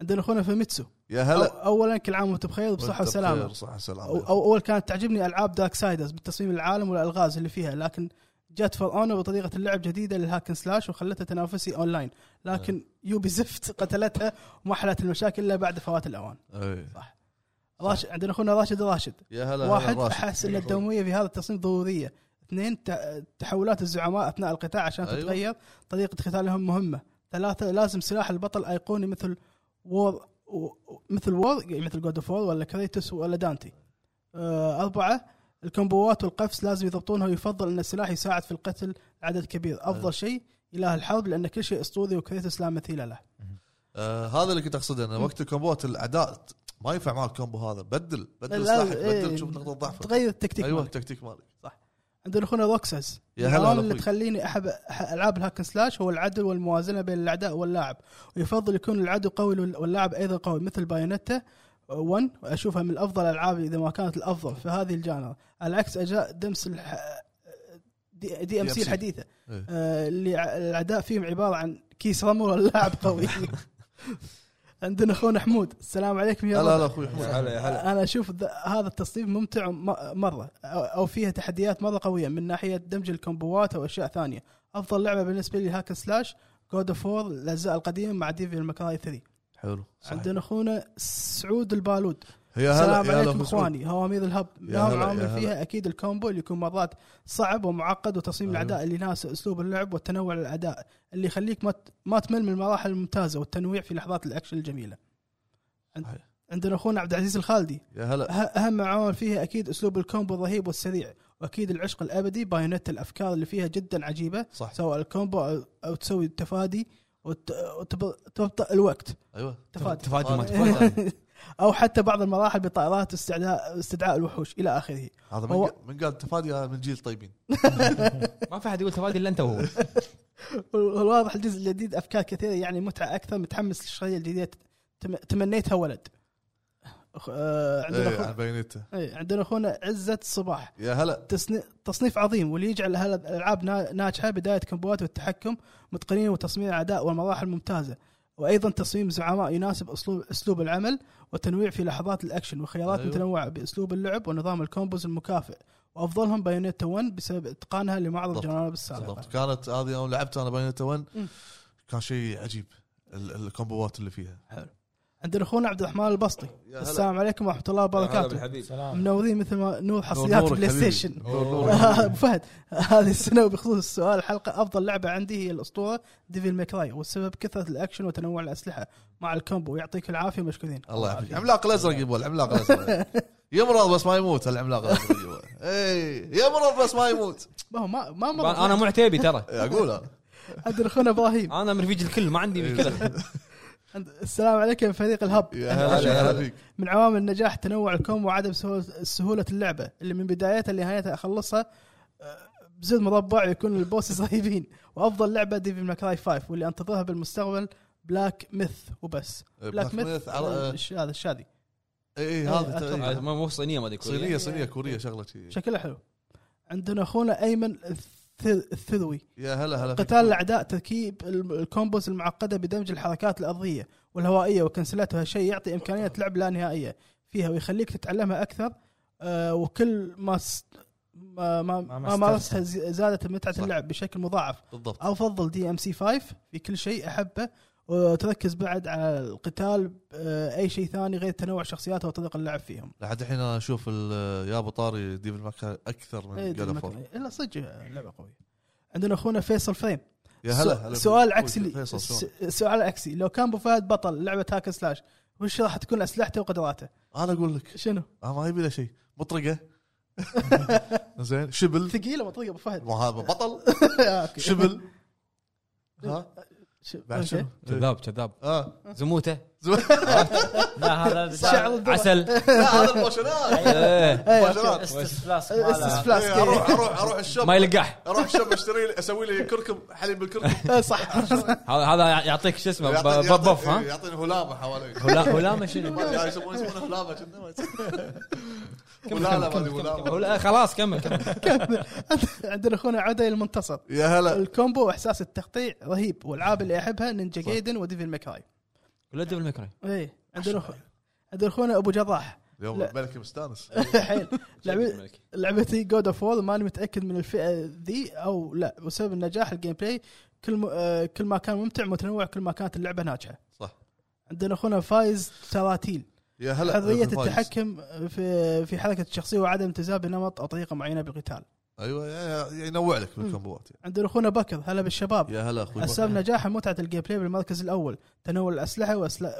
S2: عندنا اخونا فيميتسو
S3: يا
S2: أو
S3: هلا
S2: اولا كل عام وانتم بخير وبصحه
S3: وأنت
S2: وسلامه
S3: بخير، صحه
S2: أو
S3: وسلامه
S2: أو- اول كانت تعجبني العاب دارك سايدرز بتصميم العالم والالغاز اللي فيها لكن جت فور اونر بطريقه اللعب جديده للهاكن سلاش وخلتها تنافسي اونلاين لكن يوبي زفت قتلتها وما حلت المشاكل الا بعد فوات الاوان
S3: إيه.
S2: راشد عندنا اخونا راشد راشد
S3: يا هلا
S2: واحد
S3: هلا راشد. أيوه،
S2: احس ان الدمويه في هذا التصميم ضروريه اثنين ت- تحولات الزعماء اثناء القتال عشان
S3: أيوة.
S2: أيوة. تتغير طريقه قتالهم مهمه ثلاثه لازم سلاح البطل ايقوني مثل وور و- و- مثل وور يعني مثل جود اوف وور ولا كريتوس ولا دانتي آه، اربعه الكومبوات والقفز لازم يضبطونها ويفضل ان السلاح يساعد في القتل عدد كبير
S3: أيوه.
S2: افضل شيء اله الحرب لان كل شيء اسطوري وكريتوس لا مثيل له
S3: آه هذا اللي كنت اقصده انه وقت الكومبوات الاعداء ت- ما ينفع معك الكومبو هذا بدل بدل
S2: لا،
S3: سلاحك
S2: إيه،
S3: بدل شوف نقطه ضعفك
S2: تغير التكتيك
S3: ايوه
S2: مالك.
S3: التكتيك مالك
S2: عندنا اخونا روكساس
S3: يا هلا
S2: العوامل
S3: هلا
S2: اللي
S3: أخوي.
S2: تخليني احب أح- العاب الهاكن سلاش هو العدل والموازنه بين الاعداء واللاعب ويفضل يكون العدو قوي وال- واللاعب ايضا قوي مثل بايونيتا 1 اشوفها من افضل الالعاب اذا ما كانت الافضل في هذه الجانر على عكس اجزاء دمس الح... دي, دي ام
S3: DMC.
S2: سي الحديثه
S3: إيه.
S2: آه، اللي ع- العداء فيهم عباره عن كيس رمل واللاعب قوي عندنا اخونا حمود السلام عليكم يا
S3: هلا
S2: رب.
S3: هلا اخوي حمود
S5: هلا يا هلا
S2: انا اشوف ذ- هذا التصنيف ممتع م- مره أو- او فيها تحديات مره قويه من ناحيه دمج الكومبوات او اشياء ثانيه افضل لعبه بالنسبه لي هاك سلاش جود اوف وور الاجزاء القديمه مع ديفل ماكراي 3
S3: حلو صحيح.
S2: عندنا اخونا سعود البالود
S3: يا هلا
S2: السلام
S3: يا هلا
S2: عليكم
S3: أخوي سعود.
S2: اخواني هوامير الهب
S3: يا
S2: نعم
S3: هلا، يا
S2: عامل
S3: هلا.
S2: فيها اكيد الكومبو اللي يكون مرات صعب ومعقد وتصميم
S3: أيوة.
S2: الاعداء اللي يناسب اسلوب اللعب وتنوع الاداء اللي يخليك ما ت- ما تمل من المراحل الممتازه والتنويع في لحظات الاكشن الجميله عند-
S3: صحيح.
S2: عندنا اخونا عبد العزيز الخالدي
S3: يا هلا
S2: أه- اهم عوامل فيها اكيد اسلوب الكومبو الرهيب والسريع واكيد العشق الابدي بايونت الافكار اللي فيها جدا عجيبه
S3: صح
S2: سواء الكومبو أو- او تسوي تفادي وت- وتب- وتبطئ الوقت
S3: ايوه
S2: تفادي
S1: تفادي ما تفادي
S3: تفضل.
S2: او حتى بعض المراحل بطائرات استعداء استدعاء الوحوش الى اخره
S3: هذا من
S2: هو-
S3: قال- من قال تفادي هذا من جيل طيبين
S1: ما في احد يقول تفادي الا انت وهو
S2: والواضح الجزء الجديد افكار كثيره يعني متعه اكثر متحمس للشخصيه الجديده تم- تمنيتها ولد أخ- آه، عندنا
S3: ايه عن
S2: أخو-
S3: بايونيتا
S2: إيه، عندنا اخونا عزه الصباح
S3: يا هلا
S2: تصني- تصنيف عظيم واللي يجعل هالالعاب نا- ناجحه بدايه كمبوات والتحكم متقنين وتصميم الاعداء والمراحل ممتازه وايضا تصميم زعماء يناسب اسلوب اسلوب العمل والتنويع في لحظات الاكشن وخيارات
S3: أيوة.
S2: متنوعه باسلوب اللعب ونظام الكومبوز المكافئ وافضلهم بايونيتا 1 بسبب اتقانها لمعظم
S3: بالضبط.
S2: الجوانب السابقه
S3: بالضبط كانت هذه يوم لعبت انا بايونيتا 1
S2: مم.
S3: كان شيء عجيب ال- الكومبوات اللي فيها
S2: عندنا اخونا عبد الرحمن البسطي
S3: يا هلا.
S2: السلام عليكم ورحمه الله
S5: هلا
S2: وبركاته
S5: بالحبيب
S4: سلام
S2: منورين مثل ما نور
S3: نور
S2: حصريات
S3: نورك
S2: بلاي
S3: حبيبي.
S2: ستيشن
S3: نور نورك.
S2: ابو فهد هذه السنه وبخصوص السؤال الحلقه افضل لعبه عندي هي الاسطوره ديفل ميكراي والسبب كثره الاكشن وتنوع الاسلحه مع الكومبو يعطيك العافيه مشكورين
S3: الله يعافيك عملاق الازرق يبغى العملاق الازرق يمرض بس ما يموت العملاق الازرق يبغى اي يمرض بس ما يموت إيه،
S2: ما هو ما ما مرض
S1: انا معتيبي ترى
S3: اقولها
S2: عندنا اخونا ابراهيم
S1: انا من رفيج الكل ما عندي مشكله
S2: عند- السلام عليكم يا فريق الهب
S3: يا هلا هلا فيك
S2: من عوامل النجاح تنوع الكومبو وعدم سهولة- سهوله اللعبه اللي من بدايتها لنهايتها اخلصها آه، بزود مربع يكون البوسز رهيبين وافضل لعبه ديفل ماكراي 5 واللي انتظرها بالمستقبل بلاك ميث وبس بلاك ميث
S3: إيه، على-
S2: الش- هذا الشاذي
S3: اي
S2: إيه،
S3: هذا
S2: أتوقع. إيه.
S3: تقريباً.
S1: مو صينيه ما ادري
S3: صينيه
S1: كورية.
S3: صينيه كوريه شغله شي.
S2: شكله حلو عندنا اخونا ايمن الثر- الثروي
S3: يا هلا هلا فيك.
S2: قتال الاعداء تركيب ال- الكومبوز المعقده بدمج الحركات الارضيه والهوائيه وكنسلاتها شيء يعطي امكانيه لعب لا نهائيه فيها ويخليك تتعلمها اكثر آه وكل ما س... ما ما,
S4: ما
S2: ما مارستها ز- زادت متعه
S3: صح.
S2: اللعب بشكل مضاعف
S3: بالضبط
S2: افضل دي ام سي 5 في كل شيء احبه وتركز بعد على القتال آه، اي شيء ثاني غير تنوع شخصياتها وطرق اللعب فيهم
S3: لحد الحين انا اشوف ال- يا ابو طاري ديفل ماكا اكثر
S2: إيه،
S3: من جاد أوف وور.
S2: الا صدق لعبه قويه عندنا اخونا فيصل فريم
S3: يا هلا
S2: سو-
S3: هلا فيك.
S2: سؤال عكسي لي
S3: فيصل شلون؟
S2: س- سؤال عكسي لو كان ابو فهد بطل لعبه هاك سلاش وش راح تكون اسلحته وقدراته؟
S3: انا اقول لك
S2: شنو؟
S3: آه، ما يبي له شيء مطرقه زين شبل
S2: ثقيله مطريقه ابو فهد آه،
S3: ما هذا بطل
S2: أوكي.
S3: شبل ها
S2: ش-
S3: بعد
S2: أوكي.
S3: شنو؟
S1: كذاب كذاب
S3: اه
S1: زموته
S4: لا آه، هذا
S2: شعر
S4: بداية-
S2: الذرة.
S1: عسل
S3: لا هذا الموشنات
S1: إيه.
S2: إيه، أوكي.
S3: الموشنات
S4: استفلاس
S2: استفلاس.
S4: ماله.
S2: فلاسك.
S3: إيه، اروح اروح اروح الشوب
S1: ما يلقح
S3: اروح الشوب اشتري لي اسوي لي كركم حليب بالكركم
S2: إيه، صح
S1: هذا هذا يعطيك شو اسمه
S3: يعطي-
S1: ب-
S3: يعطي-
S1: ببف
S3: إيه،
S1: ها
S3: يعطيني هلامه حوالي
S1: هلا هلا
S3: ما
S1: شنو
S3: أدري، يسمونه يسمونه هلامه شنو ما يسمونه. هلامه ما أدري، هلامه
S1: هلا خلاص كمل كمل
S2: عندنا اخونا عدي المنتصر
S3: يا هلا
S2: الكومبو واحساس التقطيع رهيب والعاب اللي احبها نينجا جايدن وديفل ميكراي
S1: ولا دبل مكري
S2: ايه عندنا أخ- عندنا اخونا ابو جراح
S3: اليوم
S2: لا.
S3: الملك مستانس
S2: حيل لعبة- لعبتي جود اوف وور ماني متاكد من الفئه ذي او لا بسبب النجاح الجيم بلاي كل م... آه، كل ما كان ممتع متنوع كل ما كانت اللعبه ناجحه
S3: صح.
S2: عندنا اخونا فايز تراتيل
S3: يا هلا
S2: حريه
S3: بالفايز.
S2: التحكم في في حركه الشخصيه وعدم تزاه بنمط او طريقه معينه بالقتال
S3: ايوه يا- يا- ينوع لك بالكومبوات
S2: عندنا اخونا بكر هلا بالشباب
S3: يا هلا اخوي
S2: اسباب نجاح متعه الجيم بلاي بالمركز الاول تنوع الاسلحه وأسلا-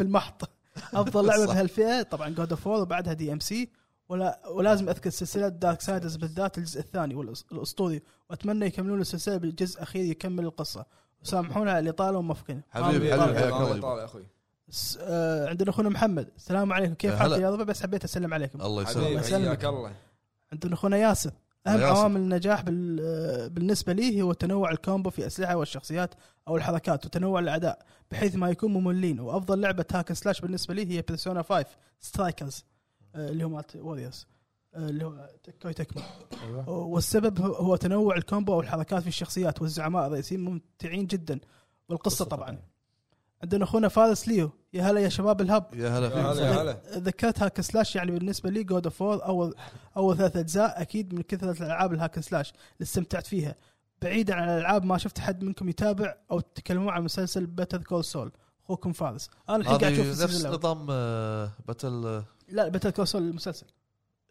S2: المحط افضل لعبه
S3: صح.
S2: بهالفئه طبعا جود اوف وور وبعدها دي ام سي ولا ولازم اذكر سلسله دارك سايدرز بالذات الجزء الثاني والأس- الاسطوري واتمنى يكملون السلسله بالجزء الاخير يكمل القصه وسامحونا على الاطاله ومفقنا
S3: حبيبي حبيبي
S5: طال- طال-
S3: حياك الله يبا.
S5: طال يا اخوي
S2: س- آه عندنا اخونا محمد السلام عليكم كيف
S3: يا
S2: حالك
S3: هلا.
S2: يا ربع بس حبيت اسلم عليكم
S3: الله
S5: حبيبي
S3: يسلمك
S5: حياك الله
S2: عندنا اخونا ياسر اهم
S3: ياسر.
S2: عوامل النجاح بال... آه، بالنسبه لي هو تنوع الكومبو في الاسلحه والشخصيات او الحركات وتنوع الاعداء بحيث ما يكون مملين وافضل لعبه هاك سلاش بالنسبه لي هي بيرسونا 5 سترايكرز آه، اللي هو مالت ووريرز آه، اللي هو كوي تكمو
S4: أيوة.
S2: والسبب هو- هو تنوع الكومبو والحركات في الشخصيات والزعماء الرئيسيين ممتعين جدا والقصه طبعا عندنا اخونا فارس ليو يا هلا يا شباب الهب
S3: يا هلا
S5: يا هلا
S3: فيك
S5: يا هلا
S2: يعني ذكرت هاك سلاش يعني بالنسبه لي جود اوف وور اول اول ثلاث اجزاء اكيد من كثره الالعاب الهاك سلاش اللي استمتعت فيها بعيدا عن الالعاب ما شفت حد منكم يتابع او تتكلمون عن مسلسل باتر كول سول اخوكم فارس انا الحين قاعد اشوف
S3: هذه
S2: السيزون
S3: نفس
S2: الأول.
S3: نظام آه، باتل آه،
S2: لا باتر كول سول المسلسل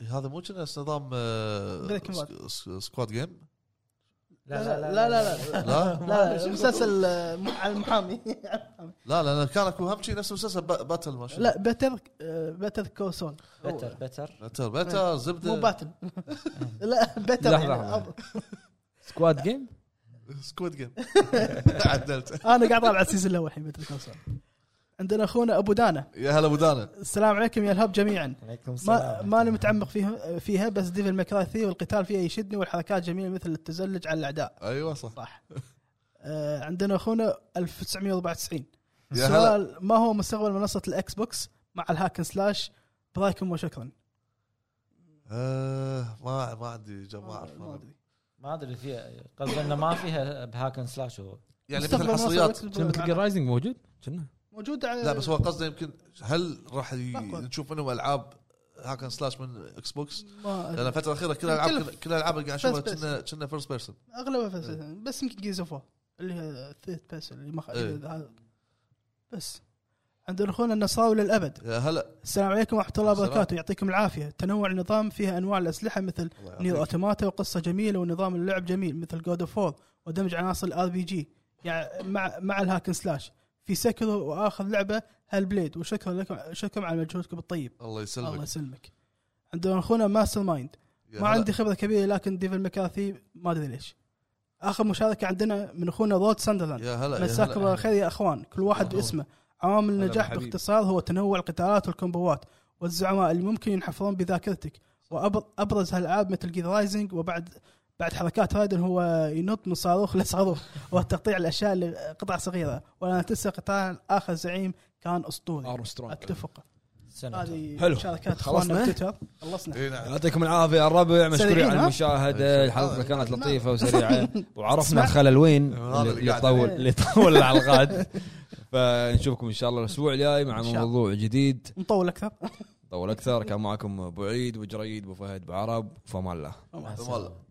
S3: هذا مو كنا نفس نظام آه،
S2: Breaking Bad.
S3: سكواد جيم
S4: لا لا لا
S2: لا لا
S4: لا
S2: لا,
S3: لا
S2: لا, لا مسلسل آه، م- على المحامي
S3: لا لا لا، كان اكو هم شي نفس مسلسل با- باتل ما شنو
S2: لا آه، باتر باتر كول سول
S4: بتر بتر
S3: باتل باتل
S2: مو
S3: زبده
S2: باتل لا باتر
S1: لحظة،
S2: يعني
S1: لحظة.
S2: أفضل.
S1: سكواد جيم
S3: سكواد جيم عدلت
S2: انا قاعد اطالع السيزون الاول الحين باتر كول سول عندنا اخونا ابو دانا
S3: يا هلا ابو دانا
S2: السلام عليكم يا الهب جميعا
S4: عليكم
S2: ما
S4: السلام
S2: ماني متعمق فيها فيها بس ديفل ماكراي 3 والقتال فيها يشدني والحركات جميله مثل التزلج على الاعداء
S3: ايوه صح
S2: صح آه، عندنا اخونا 1994
S3: يا هلا
S2: السؤال ما هو مستقبل منصه الاكس بوكس مع الهاكن سلاش برايكم وشكرا
S3: آه، ما ما عندي جا- ما اعرف
S2: ما ادري
S4: ما ادري فيها قصدي انه ما فيها بهاكن سلاش هو
S3: يعني
S2: مستقبل
S3: مثل
S2: منصة
S3: حصريات
S2: الأكس بوكس
S1: مثل جير رايزنج موجود كنا
S2: موجوده على
S3: لا بس هو قصده يمكن هل راح ي-
S2: باكورد.
S3: نشوف منهم العاب هاكن سلاش من اكس بوكس؟
S2: ما
S3: لان الفتره الاخيره كل الالعاب
S2: مكلف.
S3: كل الالعاب اللي قاعد اشوفها
S2: First person.
S3: كنا كنا فيرست بيرسون
S2: اغلبها فيرست بيرسون بس يمكن جيز اوف اللي هي ثيرد بيرسون اللي ما خ...
S3: إيه.
S2: هذا. بس عندنا اخونا النصراوي للابد
S3: هلا
S2: السلام عليكم ورحمه الله
S3: السلام.
S2: وبركاته يعطيكم العافيه تنوع النظام فيها انواع الاسلحه مثل
S3: الله يعافيك.
S2: نير اوتوماتا وقصه جميله ونظام اللعب جميل مثل جود اوف وور ودمج عناصر الار بي جي يعني مع مع الهاكن سلاش في سكرو واخر لعبه هال بليد وشكرا لكم شكرا على مجهودكم الطيب
S3: الله
S2: الله
S3: يسلمك
S2: يسلمك عندنا اخونا ماستر مايند
S3: يا هلا.
S2: ما عندي خبره كبيره لكن ديفل مكاثي ما ادري ليش اخر مشاركه عندنا من اخونا رود ساندرلاند
S3: يا هلا يا
S2: مساكم الله
S3: هلا.
S2: خير يا اخوان كل واحد
S3: هلا.
S2: باسمه عوامل
S1: إيه، هلا
S2: النجاح
S1: بالحبيب.
S2: باختصار هو تنوع القتالات والكومبوات والزعماء اللي ممكن ينحفرون بذاكرتك وابرز هالالعاب مثل جير رايزنج وبعد بعد حركات رايدن هو ينط من صاروخ لصاروخ وتقطيع الاشياء لقطع صغيره ولا تنسى قتال اخر زعيم كان اسطوري
S1: ارمسترونج
S2: اتفق
S4: سنة
S2: هذه
S1: حلو.
S2: مشاركات
S1: خلصنا؟ إيه.
S2: اخواننا بتويتر خلصنا
S3: إي نعم.
S1: يعطيكم العافيه يا الربع مشكورين
S2: سريعين،
S1: على
S2: ها؟
S3: أي
S1: المشاهده
S3: شيء.
S1: الحلقه
S3: آه،
S1: كانت
S2: نعم.
S1: لطيفه وسريعه وعرفنا
S2: اسمع.
S1: الخلل وين
S3: هذا
S1: اللي
S3: اللي
S1: اللي
S3: قاعد
S1: يطول
S2: عليه.
S1: اللي يطول الحلقات فنشوفكم ان شاء الله الاسبوع الجاي مع
S2: إن شاء الله.
S1: موضوع جديد
S2: نطول اكثر
S1: طول اكثر كان معكم ابو عيد ابو جريد ابو فهد ابو عرب فمان الله
S3: والله